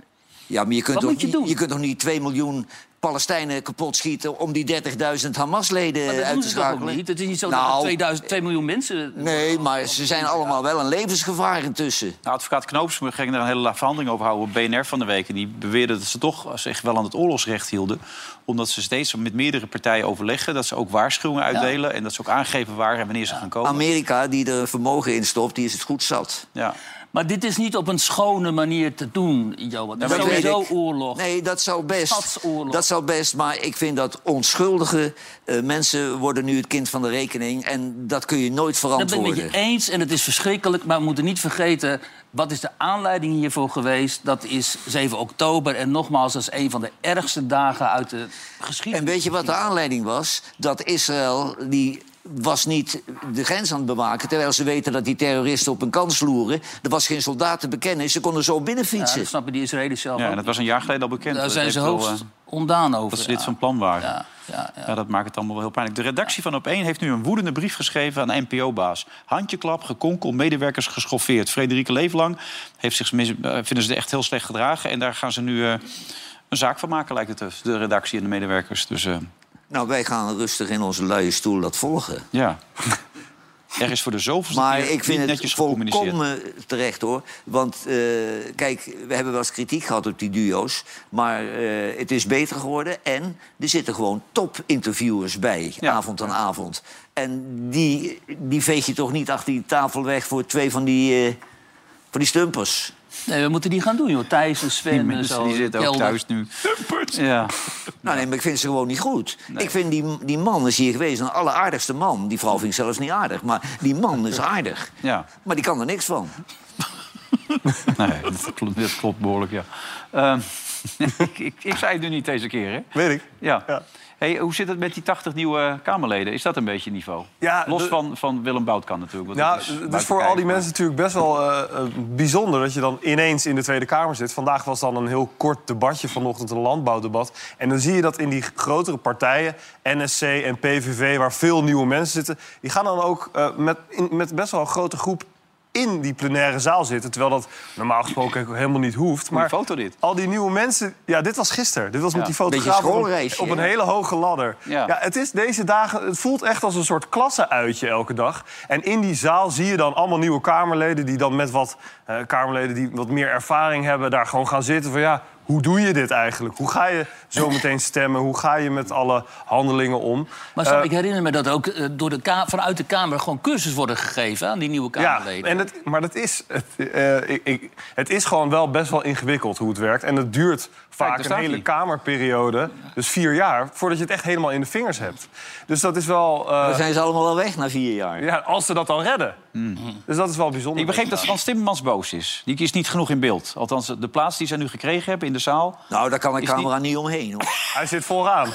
S4: ja, maar je kunt,
S3: Wat
S4: toch,
S3: moet je
S4: niet-
S3: doen?
S4: je kunt toch niet 2 miljoen Palestijnen kapot schieten om die 30.000 Hamas-leden
S3: maar dat
S4: uit
S3: doen
S4: eh, te
S3: ze toch ook
S4: schakelen?
S3: niet? Het is niet zo dat
S4: Nou,
S3: er 2000, 2 miljoen mensen...
S4: Nee, maar ze zijn allemaal wel een levensgevaar intussen.
S1: Nou, advocaat Knoops ging daar een hele la- verhandeling over houden op BNR van de week. En die beweerde dat ze toch zich wel aan het oorlogsrecht hielden. Omdat ze steeds met meerdere partijen overleggen. Dat ze ook waarschuwingen uitdelen. En dat ze ook aangeven waar en wanneer ze gaan komen.
S4: Amerika, die er vermogen in stopt, die is het goed zat.
S1: Ja.
S3: Maar dit is niet op een schone manier te doen, Johan. Dat is
S4: dat weet
S3: sowieso
S4: ik.
S3: oorlog.
S4: Nee, dat zou best.
S3: Stadsoorlog.
S4: Dat zou best, maar ik vind dat onschuldige eh, mensen worden nu het kind van de rekening. En dat kun je nooit
S3: Dat ben ik met
S4: verantwoorden.
S3: je eens en het is verschrikkelijk. Maar we moeten niet vergeten, wat is de aanleiding hiervoor geweest? Dat is 7 oktober en nogmaals, dat is een van de ergste dagen uit de geschiedenis.
S4: En weet je wat de aanleiding was? Dat Israël die was niet de grens aan het bewaken... terwijl ze weten dat die terroristen op een kans loeren. Er was geen soldaat te bekennen. Ze konden zo
S3: Ja,
S4: binnenfietsen.
S3: dat snappen die Israëli's zelf
S1: Ja, en
S3: ook.
S1: dat was een jaar geleden al bekend.
S3: Daar
S1: Dat
S3: zijn ze
S1: heeft wel,
S3: hoogst
S1: eh,
S3: ondaan over.
S1: Dat ze dit
S3: ja.
S1: van plan waren.
S3: Ja, ja, ja.
S1: Ja, dat maakt het allemaal wel heel pijnlijk. De redactie van Opeen heeft nu een woedende brief geschreven aan NPO-baas. Handjeklap, gekonkel, medewerkers geschoffeerd. Frederike Leeflang heeft zich, mis- eh, vinden ze echt heel slecht gedragen. En daar gaan ze nu eh, een zaak van maken, lijkt het. dus, De redactie en de medewerkers. Dus eh,
S4: Nou, wij gaan rustig in onze luie stoel dat volgen.
S1: ja. er is voor de zoveelste
S4: Maar
S1: keer
S4: ik vind
S1: niet
S4: het
S1: netjes gecommuniceerd.
S4: volkomen terecht, hoor. Want eh, kijk, we hebben wel eens kritiek gehad op die duo's. Maar eh, het is beter geworden. En er zitten gewoon top-interviewers bij, avond aan avond. En die, die veeg je toch niet achter die tafel weg voor twee van die, eh, van die stumpers.
S3: Nee, we moeten die gaan doen, joh. Thijs en Sven
S1: Die
S3: en
S1: mensen
S3: zo.
S1: die zitten ook
S3: Kelder.
S1: thuis nu. Ja.
S4: Nou, nee, maar ik vind ze gewoon niet goed. Ik vind die, die man is hier geweest, een alleraardigste man. Die vrouw vind ik zelfs niet aardig, maar die man is aardig.
S1: Ja,
S4: Maar die kan er niks van.
S1: Eh. nee, dat klopt, dat klopt behoorlijk, ja. Ehm, ik, ik, ik zei het nu niet deze keer, hè?
S5: Weet ik.
S1: Ja. Hey, hoe zit het met die 80 nieuwe Kamerleden? Is dat een beetje het niveau?
S5: Ja,
S1: Los
S5: de-
S1: van, van Willem Boutkan natuurlijk. want
S5: Ja,
S1: dat is
S5: het is
S1: buiten
S5: voor
S1: kijf,
S5: al die
S1: maar-
S5: mensen natuurlijk best wel eh, eh, bijzonder dat je dan ineens in de Tweede Kamer zit. Vandaag was dan een heel kort debatje, vanochtend een landbouwdebat. En dan zie je dat in die grotere partijen, NSC en PVV, waar veel nieuwe mensen zitten, die gaan dan ook eh, met, in- met best wel een grote groep in die plenaire zaal zitten. Terwijl dat normaal gesproken ook helemaal niet hoeft. Maar
S1: foto dit.
S5: al die nieuwe mensen... Ja, dit was gisteren. Dit was
S1: Ja,
S5: met die
S4: beetje
S5: fotograaf op,
S4: schoolreisje,
S5: op een
S4: hè?
S5: hele hoge ladder.
S1: Ja.
S5: Ja. het is deze dagen... Het voelt echt als een soort klasseuitje elke dag. En in die zaal zie je dan allemaal nieuwe Kamerleden... die dan met wat eh, Kamerleden die wat meer ervaring hebben... daar gewoon gaan zitten van ja... hoe doe je dit eigenlijk? Hoe ga je zo meteen stemmen? Hoe ga je met alle handelingen om?
S3: Maar Sam,
S5: Eh,
S3: ik herinner me dat ook eh, door de ka- vanuit de Kamer gewoon cursus worden gegeven aan die nieuwe
S5: Ja,
S3: Kamerleden.
S5: en het, maar dat is, het, eh, ik, ik, het is gewoon wel best wel ingewikkeld hoe het werkt. En het duurt vaak
S1: daar
S5: een
S1: staat
S5: hele
S1: hij.
S5: kamerperiode, dus vier jaar... voordat je het echt helemaal in de vingers hebt. Dus dat is wel... eh,
S4: Dan zijn ze allemaal wel weg na vier jaar.
S5: ja, als ze dat dan redden. Dus dat is wel bijzonder.
S1: Hmm. Ik begreep dat Frans Timmermans boos is. Die is niet genoeg in beeld. Althans, de plaats die zij nu gekregen hebben in de zaal...
S4: Nou, daar kan een
S1: Is
S4: camera niet omheen, hoor.
S5: Hij zit vooraan.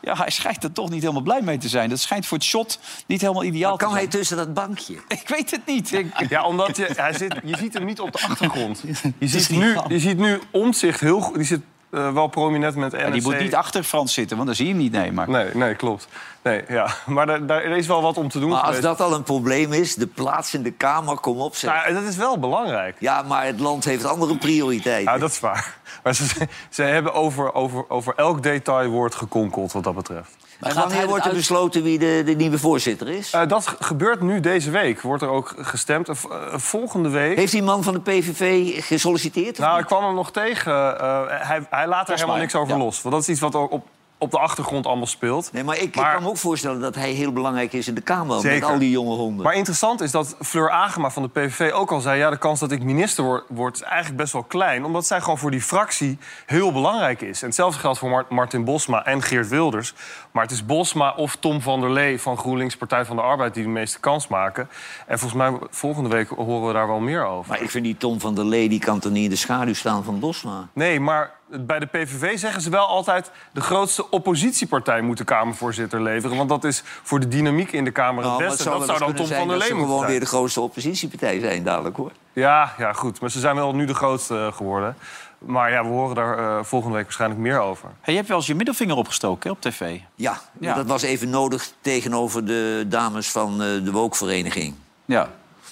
S1: Ja, hij schijnt er toch niet helemaal blij mee te zijn. Dat schijnt voor het shot niet helemaal ideaal
S4: Kan
S1: te
S4: hij
S1: zijn.
S4: tussen dat bankje?
S1: Ik weet het niet. Ik-
S5: Ja, omdat je, hij zit, je ziet hem niet op de achtergrond. Je ziet
S1: niet
S5: nu,
S1: van.
S5: je ziet nu omzicht heel goed. Die zit eh, wel prominent met NRC.
S1: Ja, die moet niet achter Frans zitten, want dan zie je hem niet. Nee, maar...
S5: Nee, nee, klopt. Nee, ja. Maar daar, daar is wel wat om te doen
S4: Maar als
S5: geweest.
S4: dat al een probleem is, de plaats in de Kamer, kom op, zeg.
S5: Nou, dat is wel belangrijk.
S4: Ja, maar het land heeft andere prioriteiten.
S5: Ja, dat is waar. Maar ze, ze hebben over, over, over elk detail wordt gekonkeld wat dat betreft.
S4: en
S3: gaat hij
S4: wanneer
S3: dat
S4: wordt er
S3: uit-
S4: besloten wie de, de nieuwe voorzitter is?
S5: Eh, dat ge- gebeurt nu deze week. Wordt er ook gestemd. Eh, v- eh, volgende week...
S4: Heeft die man van de PVV gesolliciteerd? of
S5: Nou,
S4: niet?
S5: ik kwam hem nog tegen. Eh, hij, hij laat er helemaal
S1: mij,
S5: niks over
S1: ja.
S5: los. Want dat is iets wat ook op, op de achtergrond allemaal speelt.
S4: Nee, maar ik, ik
S5: maar-
S4: kan me ook voorstellen dat hij heel belangrijk is in de Kamer...
S5: Zeker.
S4: met al die jonge honden.
S5: Maar interessant is dat Fleur Agema van de PVV ook al zei... ja, de kans dat ik minister wor- word is eigenlijk best wel klein... omdat zij gewoon voor die fractie heel belangrijk is. En hetzelfde geldt voor Mar- Martin Bosma en Geert Wilders. Maar het is Bosma of Tom van der Lee van GroenLinks Partij van de Arbeid... die de meeste kans maken. En volgens mij volgende week horen we daar wel meer over.
S4: Maar ik vind die Tom van der Lee, die kan toch niet in de schaduw staan van Bosma?
S5: Nee, maar bij de PVV zeggen ze wel altijd... de grootste oppositiepartij moet de Kamervoorzitter leveren. Want dat is voor de dynamiek in de Kamer het
S4: Nou, maar
S5: beste. dat
S4: wel
S5: zou dan
S4: eens
S5: Tom
S4: kunnen
S5: van der
S4: zijn dat
S5: Lee
S4: ze
S5: moeten
S4: gewoon
S5: zijn.
S4: weer de grootste oppositiepartij zijn dadelijk, hoor.
S5: Ja, ja, goed. Maar ze zijn wel nu de grootste eh, geworden. Maar ja, we horen daar eh, volgende week waarschijnlijk meer over.
S1: Hey, je hebt wel eens je middelvinger opgestoken hè, op tv.
S4: Ja,
S1: Ja.
S4: dat was even nodig tegenover de dames van eh, de Wookvereniging.
S1: Ja.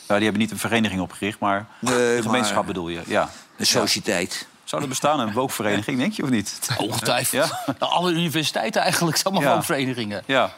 S1: Nou, die hebben niet een vereniging opgericht, maar
S4: Nee,
S1: een
S4: maar-
S1: gemeenschap bedoel je. Ja.
S4: De sociëteit.
S1: Zou er bestaan een wookvereniging, denk je, of niet?
S3: Ongetwijfeld. Nou, Alle universiteiten eigenlijk, zijn allemaal
S1: Ja.
S3: verenigingen.
S1: Ja.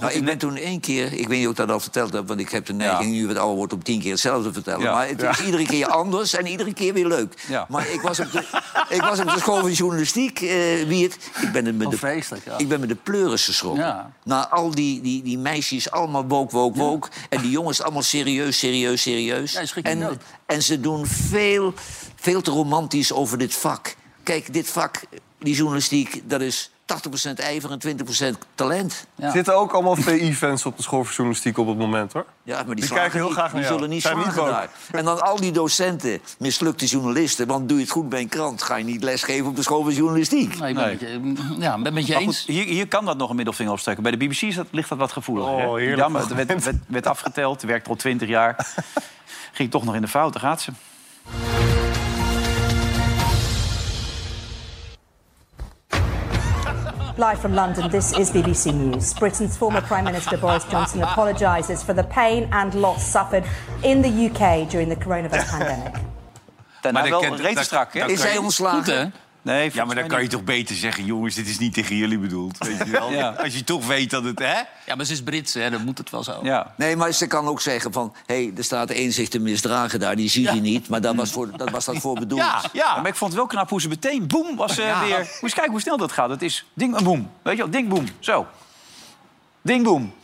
S4: Nou, ik ben toen één keer, ik weet niet of ik dat al verteld heb... want ik heb de neiging nu het oude wordt om tien keer hetzelfde te vertellen.
S1: Ja.
S4: Maar het is iedere keer anders en iedere keer weer leuk.
S1: Ja.
S4: Maar ik was, op de, ik was op de school van journalistiek, eh, wie het... Ik ben het met
S3: Oh,
S4: de,
S3: vreselijk, ja.
S4: ik ben met de pleuris geschrokken.
S3: Ja.
S4: Na al die, die, die meisjes allemaal woke, woke, woke... en die jongens allemaal serieus, serieus, serieus.
S3: Ja, je schrikt je
S4: en,
S3: dood.
S4: en ze doen veel, veel te romantisch over dit vak. Kijk, dit vak, die journalistiek, dat is 80% ijver en 20% talent...
S3: Ja.
S5: Zitten ook allemaal VI-fans op de school voor journalistiek op het moment, hoor.
S4: Ja, maar die,
S5: Die
S4: slagen
S5: kijken heel
S4: niet.
S5: graag naar
S4: Die
S5: jou.
S4: zullen niet
S5: Zijn niet
S4: slagen
S5: woke.
S4: daar. En dan al die docenten, mislukte journalisten. Want doe je het goed bij een krant, ga je niet lesgeven op de school van journalistiek.
S3: Nou, ik ben het met je, ja, ik ben het met je
S1: Maar goed,
S3: eens.
S1: hier, hier kan dat nog een middelvinger opsteken. Bij de BBC is dat, ligt dat wat gevoelig.
S5: Oh,
S1: hè?
S5: heerlijk
S1: Jammer, het werd, werd, werd afgeteld, werkt al twintig jaar. Ging toch nog in de fout, daar gaat ze.
S11: Live from London, this is BBC News. Britain's former Prime Minister Boris Johnson apologises for the pain and loss suffered in the UK during the coronavirus pandemic.
S1: Daarna
S2: dat
S1: wel
S2: kent-
S1: reeds
S2: dat-
S1: strak, hè?
S2: dat
S4: Is hij
S3: Goed,
S4: ontslagen?
S3: hè?
S1: Nee,
S2: Ja, maar dan kan je
S1: niet.
S2: toch beter zeggen, jongens, dit is niet tegen jullie bedoeld. Weet je wel?
S1: Ja.
S2: Als je toch weet dat het, hè?
S3: Ja, maar ze is Brits, hè, dan moet het wel zo.
S1: Ja.
S4: Nee, maar ze kan ook zeggen van... hé, hey, er staat één zich te misdragen daar, die zie je niet. Maar dat was, voor, dat was dat voor bedoeld.
S1: Mm. Ja, ja. Maar ik vond het wel knap hoe ze meteen, boem, was ze weer... Moet je eens kijken hoe snel dat gaat. Het is ding, een boem. Weet je wel, ding, boem. Zo. Ding, boem.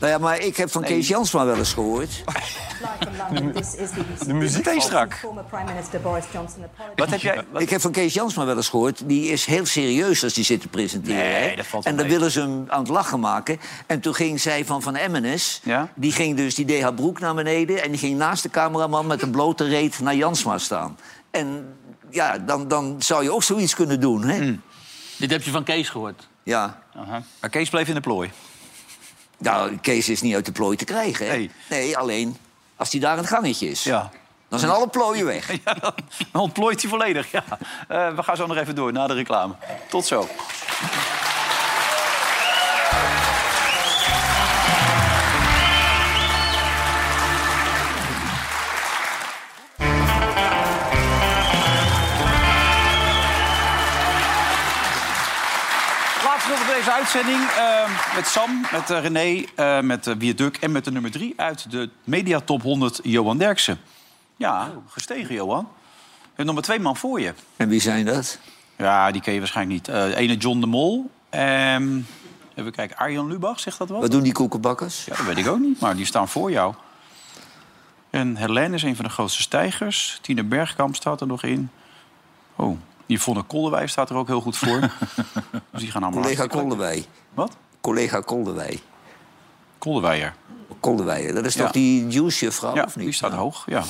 S4: Nou ja, maar ik heb van Kees Jansma wel eens gehoord.
S11: Live from London, this is BBC
S5: De muziek
S1: Meteen
S5: valt.
S1: strak.
S11: Former Prime Minister Boris Johnson apologised.
S1: Wat heb jij... wat-
S4: Ik heb van Kees Jansma wel eens gehoord. Die is heel serieus als die zit te presenteren.
S1: Nee,
S4: hè?
S1: dat valt wel
S4: en dan
S1: mee.
S4: willen ze hem aan het lachen maken. En toen ging zij van Van Emmenes.
S1: Ja.
S4: Die ging dus, die deed haar broek naar beneden. En die ging naast de cameraman met een blote reet naar Jansma staan. En ja, dan, dan zou je ook zoiets kunnen doen, hè?
S1: Mm.
S3: Dit heb je van Kees gehoord.
S4: Ja.
S1: Maar Kees bleef in de plooi.
S4: Nou, Kees is niet uit de plooi te krijgen, hè?
S1: Nee.
S4: Nee, alleen als hij daar in het gangetje is.
S1: Ja.
S4: Dan zijn alle plooien weg.
S1: Ja, dan dan ontplooit hij volledig. Ja. Eh, we gaan zo nog even door na de reclame. Tot zo. Laatste deel van deze uitzending eh, met Sam, met eh, René, eh, met uh, Wierduk en met de nummer 3 uit de Media Top 100, Johan Derksen. Ja, gestegen, Johan. Je hebt nog maar twee man voor je.
S4: En wie zijn dat?
S1: Ja, die ken je waarschijnlijk niet. Eh, de ene John de Mol. Ehm even kijken, Arjan Lubach, zegt dat wat?
S4: Wat doen die koekenbakkers?
S1: Ja, dat weet ik ook niet, maar die staan voor jou. En Helene is een van de grootste stijgers. Tine Bergkamp staat er nog in. Oh, Yvonne Koldewij staat er ook heel goed voor. dus die gaan allemaal...
S4: Collega
S1: hartstikke lekker.
S4: Koldewij.
S1: Wat?
S4: Collega Koldewij.
S1: Koldewijer.
S4: Koldewijer, dat is
S1: Ja.
S4: toch die juicevrouw,
S2: Oh,
S1: Ja,
S4: of niet?
S1: die staat hoog. Ja,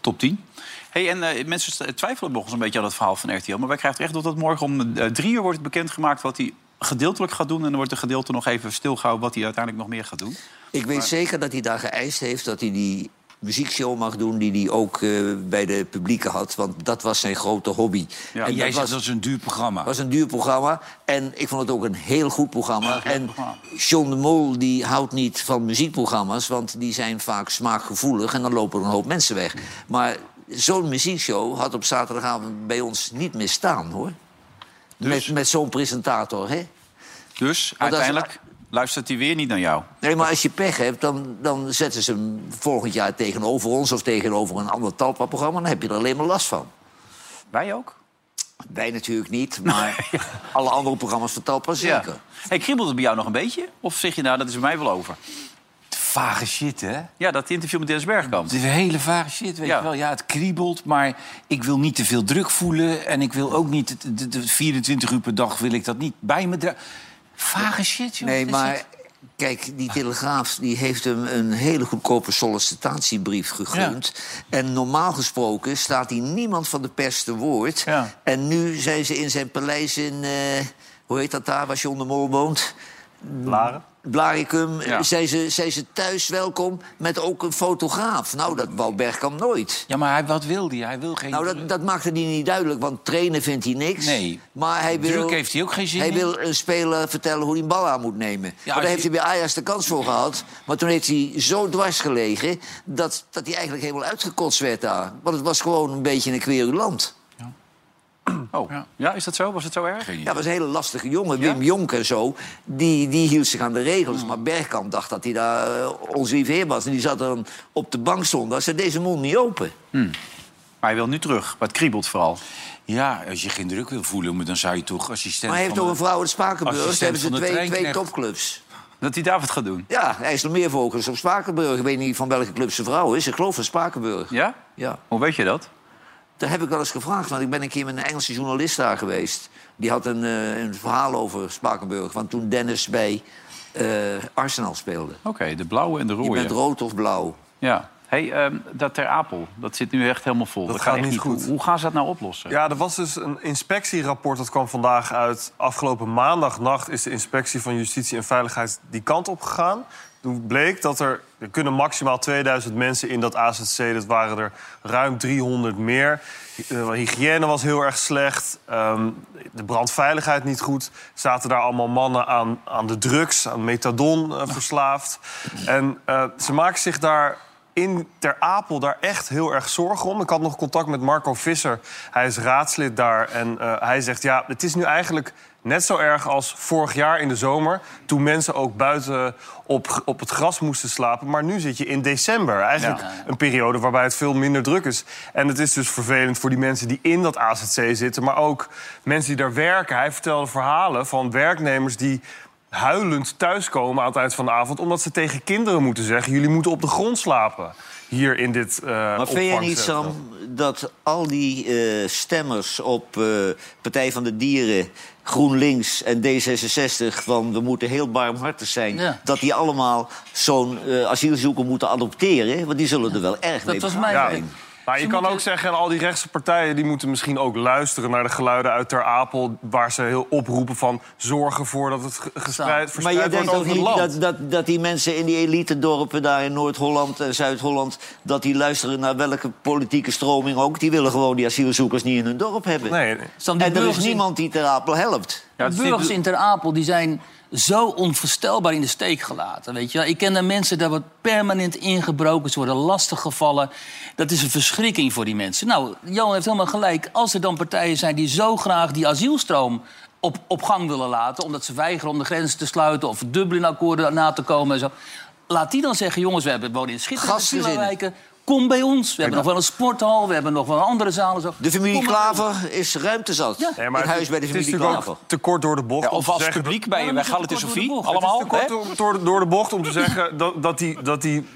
S1: top 10. Hey, en eh, mensen st- twijfelen nog eens een beetje aan het verhaal van RTL. Maar wij krijgen echt dat dat morgen om eh, drie uur wordt bekendgemaakt... wat hij gedeeltelijk gaat doen. En dan wordt de gedeelte nog even stilgehouden... wat hij uiteindelijk nog meer gaat doen.
S4: Ik weet zeker dat hij daar geëist heeft dat hij die muziekshow mag doen... die hij ook eh, bij de publieken had, want dat was zijn grote hobby.
S2: En jij
S4: dat
S2: zegt
S4: was,
S2: dat is een duur programma.
S4: was een duur programma en ik vond het ook een heel goed programma. En John de Mol die houdt niet van muziekprogramma's... want die zijn vaak smaakgevoelig en dan lopen er een hoop mensen weg. Maar zo'n muziekshow had op zaterdagavond bij ons niet meer staan, hoor. Met, met zo'n presentator, hè?
S2: Oh,
S1: Dus
S4: Maar dat is-
S1: uiteindelijk luistert hij weer niet naar jou.
S4: Nee, maar als je pech hebt, dan, dan zetten ze hem volgend jaar tegenover ons... of tegenover een ander talpa-programma, dan heb je er alleen maar last van.
S1: Wij ook?
S4: Wij natuurlijk niet, maar alle andere programma's van talpa zeker.
S1: Hey, kriebelt het bij jou nog een beetje? Of zeg je nou, dat is bij mij wel over?
S2: Vage shit, hè?
S1: Ja, dat interview met Dennis Bergkamp.
S2: Het is een hele vage shit, weet
S1: Ja.
S2: je wel. Ja, het kriebelt, maar ik wil niet te veel druk voelen... en ik wil ook niet... De, de- de 24 uur per dag wil ik dat niet bij me dragen. Vage shit, joh.
S4: Nee,
S2: Wat is
S4: maar
S2: het?
S4: kijk, die telegraaf die heeft hem een hele goedkope sollicitatiebrief gegund. En normaal gesproken staat hier niemand van de pers te woord. En nu zijn ze in zijn paleis in, eh, hoe heet dat daar, waar John de Mol woont?
S5: Blaren.
S4: Blaricum,
S2: Ja.
S4: zijn, ze, zijn ze thuis welkom met ook een fotograaf. Nou, dat wou Bergkamp nooit.
S2: Ja, maar hij, wat wil die? Hij wil geen...
S4: Nou, dat, dat maakte hij niet duidelijk, want trainen vindt hij niks.
S2: Nee.
S4: Maar hij wil,
S2: Druk heeft hij ook geen zin
S4: Hij
S2: in.
S4: wil een speler vertellen hoe hij een bal aan moet nemen. Maar
S2: als
S4: daar
S2: je-
S4: heeft hij bij Ajax de kans voor gehad. Maar toen heeft hij zo dwars gelegen... dat, dat hij eigenlijk helemaal uitgekotst werd daar. Want het was gewoon een beetje een querulant.
S1: Oh, ja. is dat zo? Was het zo erg?
S4: Ja, was een hele lastige jongen. Wim Jonk en zo, die, die hield zich aan de regels. Maar Bergkamp dacht dat hij daar eh, ons lieve heer was. En die zat dan op de bank zondag. Ze deed zijn mond niet open.
S1: Maar hij wil nu terug, maar het kriebelt vooral.
S2: Ja, als je geen druk wil voelen, dan zou je toch assistent...
S4: Maar hij heeft
S2: van
S4: toch
S2: de-
S4: een vrouw in Spakenburg.
S2: assistent
S4: Ze hebben ze
S2: van de
S4: twee, twee
S2: treinknecht.
S4: topclubs.
S1: Dat hij daar wat gaat doen.
S4: Ja, IJsselmeervogels op Spakenburg. Ik weet niet van welke club zijn vrouw is. Ik geloof van Spakenburg.
S1: Ja?
S4: Ja.
S1: Hoe Oh, weet je dat?
S4: Daar heb ik wel eens gevraagd, want ik ben een keer met een Engelse journalist daar geweest. Die had een, eh, een verhaal over Spakenburg. Want toen Dennis bij eh, Arsenal speelde.
S1: Oké, de blauwe en de
S4: Je
S1: rode.
S4: bent rood of blauw.
S1: Ja. hey, ehm, dat ter Apel, dat zit nu echt helemaal vol.
S5: Dat
S1: kan
S5: gaat
S1: echt
S5: niet goed.
S1: Hoe, hoe gaan ze dat nou oplossen?
S5: Ja, er was dus een inspectierapport dat kwam vandaag uit. Afgelopen maandagnacht is de inspectie van Justitie en Veiligheid die kant op gegaan. Toen bleek dat er, er kunnen maximaal 2000 mensen in dat AZC. Dat waren er ruim 300 meer. Eh, Hygiëne was heel erg slecht. Ehm, de brandveiligheid niet goed. Zaten daar allemaal mannen aan, aan de drugs, aan methadon eh, verslaafd. En eh, ze maken zich daar in Ter Apel daar echt heel erg zorgen om. Ik had nog contact met Marco Visser. Hij is raadslid daar. En eh, hij zegt, ja, het is nu eigenlijk net zo erg als vorig jaar in de zomer... toen mensen ook buiten op, op het gras moesten slapen. Maar nu zit je in december. Eigenlijk een periode waarbij het veel minder druk is. En het is dus vervelend voor die mensen die in dat AZC zitten... maar ook mensen die daar werken. Hij vertelde verhalen van werknemers die huilend thuiskomen aan het eind van de avond... omdat ze tegen kinderen moeten zeggen... jullie moeten op de grond slapen hier in dit eh
S4: Maar vind jij niet, Sam, dat al die eh, stemmers op eh, Partij van de Dieren... GroenLinks en D66 van we moeten heel barmhartig zijn...
S3: Ja.
S4: dat die allemaal zo'n eh, asielzoeker moeten adopteren? Want die zullen er wel erg mee
S3: was
S4: begaan
S3: mijn-
S4: zijn.
S5: Maar je
S3: Ze
S5: kan
S3: moeten-
S5: ook zeggen, al die rechtse partijen... die moeten misschien ook luisteren naar de geluiden uit Ter Apel... waar ze heel oproepen van zorgen ervoor dat het ge- gespreid,
S4: Maar jij
S5: verspreid wordt
S4: denkt ook
S5: over het
S4: niet
S5: land.
S4: dat, dat, dat die mensen in die elite dorpen daar in Noord-Holland en Zuid-Holland... dat die luisteren naar welke politieke stroming ook. Die willen gewoon die asielzoekers niet in hun dorp hebben.
S5: Nee, nee.
S3: Sam, die
S4: En er is
S3: burgers in-
S4: niemand die Ter Apel helpt.
S1: Ja,
S3: de
S1: het is
S3: burgers
S1: niet-
S3: in Ter Apel die zijn zo onvoorstelbaar in de steek gelaten. Weet je? wel. Ik ken daar mensen, daar wordt permanent ingebroken. Ze worden lastiggevallen. Dat is een verschrikking voor die mensen. Nou, Johan heeft helemaal gelijk. Als er dan partijen zijn die zo graag die asielstroom... Op, op gang willen laten, omdat ze weigeren om de grenzen te sluiten... of Dublin-akkoorden na te komen en zo. Laat die dan zeggen, jongens, we hebben wonen in schitterende
S4: Gastgezinnen.
S3: villa-wijken. Kom bij ons. We hebben nog wel een sporthal, we hebben nog wel andere zalen. Zo.
S4: De familie
S3: Kom maar
S4: Klaver is ruimte zat.
S5: Nee,
S4: in huis bij de
S5: het is
S4: familie
S5: natuurlijk
S4: Klaver.
S5: ook te kort door de bocht.
S1: Ja,
S5: om
S1: of
S5: te
S1: als
S5: zeggen-
S1: publiek bij, bij Gallet en Sofie.
S5: Het
S1: Allemaal.
S5: is te
S1: hè?
S5: kort door, door, door de bocht om te zeggen dat, dat, die, dat die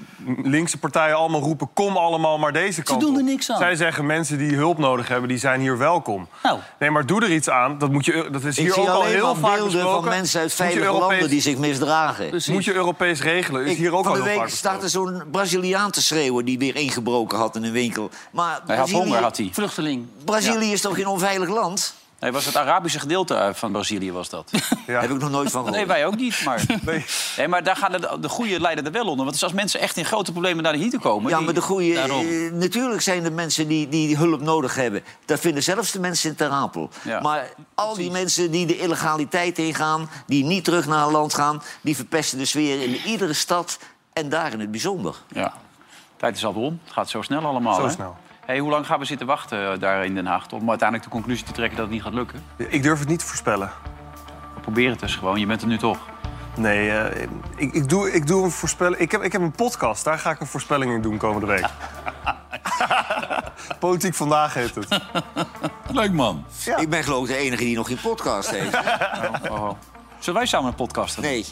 S5: linkse partijen allemaal roepen... kom allemaal maar deze kant
S3: doen er
S5: op.
S3: niks aan.
S5: Zij zeggen mensen die hulp nodig hebben, die zijn hier welkom.
S3: Nou.
S5: Nee, maar doe er iets aan. Dat, moet je, dat is
S4: Ik
S5: hier
S4: zie
S5: ook al
S4: alleen maar
S5: heel vaak
S4: beelden van
S5: besproken.
S4: mensen uit
S5: Moet je
S4: veilige
S5: Europees-
S4: landen die zich misdragen.
S5: Moet je Europees regelen. Is
S4: Ik-
S5: hier ook
S4: van
S5: al
S4: de
S5: heel
S4: week
S5: vaak
S4: startte zo'n Braziliaan te schreeuwen... die weer ingebroken had in een winkel. Maar
S1: Hij had honger, had hij.
S3: Vluchteling.
S4: Brazilië is toch geen onveilig land?
S1: Nee, was het Arabische gedeelte eh, van Brazilië was dat.
S4: Heb ik nog nooit van gehoord.
S1: Nee, wij ook niet. Maar, nee. maar daar gaan de, de goede leiden er wel onder. Want dus als mensen echt in grote problemen naar hier toe komen...
S4: Ja,
S1: die-
S4: maar de goede.
S1: Daarom.
S4: eh, natuurlijk zijn er mensen die, die hulp nodig hebben. Dat vinden zelfs de mensen in Ter Apel.
S1: Ja.
S4: Maar al die mensen die de illegaliteit ingaan, die niet terug naar hun land gaan, die verpesten de sfeer in iedere stad en daar in het bijzonder.
S1: Ja. Tijd is al om. Het gaat zo snel allemaal.
S5: Zo
S1: hè?
S5: snel.
S1: Hey, hoe lang gaan we zitten wachten eh, daar in Den Haag? Om uiteindelijk de conclusie te trekken dat het niet gaat lukken?
S5: besproken. Ik durf het niet te voorspellen.
S1: Probeer het dus gewoon. Je bent er nu toch.
S5: Nee, eh, ik, ik, doe, ik doe een voorspelling. Ik heb, ik heb een podcast, daar ga ik een voorspelling in doen komende week. Politiek vandaag heet het.
S2: Leuk man.
S4: Ik ben geloof ik de enige die nog geen podcast heeft.
S1: Oh, oh. Zullen wij samen een podcast doen?
S4: Nee,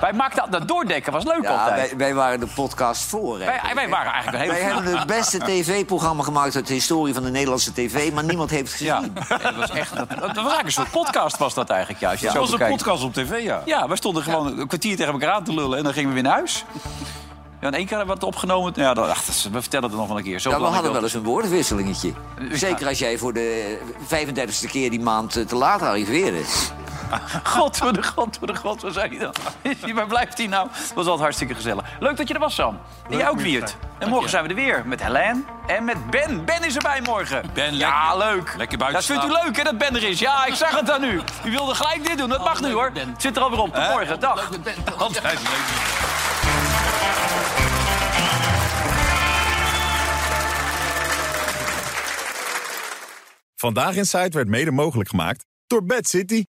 S1: Wij maakten dat, dat doordekken. was leuk
S4: ja,
S1: altijd.
S4: wij, wij waren de podcast voor. hè.
S1: Wij, wij waren eigenlijk een
S4: Wij
S1: hele...
S4: hebben het beste tv-programma gemaakt uit de historie van de Nederlandse tv, maar niemand heeft het
S1: Ja,
S4: gezien.
S1: dat was echt... Dat, dat was eigenlijk een soort podcast was dat eigenlijk juist.
S2: Het was een
S1: podcast.
S2: podcast op tv, ja.
S1: Ja, we stonden gewoon een kwartier tegen elkaar aan te lullen en dan gingen we weer naar huis. Ja, en één keer hebben we het opgenomen. Ja, dan, ach, dat is- we vertellen het nog wel een keer. Zo
S4: Ja, Nou, we hadden wel eens een woordenwisselingetje. Zeker als jij voor de 35e keer die maand eh, te laat arriveerde.
S1: God, voor de god, voor de god, waar zijn die dan? Waar blijft die nou? Dat was altijd hartstikke gezellig. Leuk dat je er was, Sam. En jij ook, Wiert. En morgen zijn we er weer met Helene en met Ben. Ben is erbij morgen.
S2: Ben,
S1: Ja,
S2: lekker.
S1: leuk.
S2: Lekker buiten
S1: Dat vindt u
S2: slapen. Oh,
S1: leuk, hè, dat Ben er is. Ja, ik zag het dan nu. U wilde gelijk dit doen. Dat mag nu, hoor. Het Zit er alweer op. Tot morgen. Dag.
S2: Altijd leuk.
S12: Vandaag in Site werd mede mogelijk gemaakt door Bad City.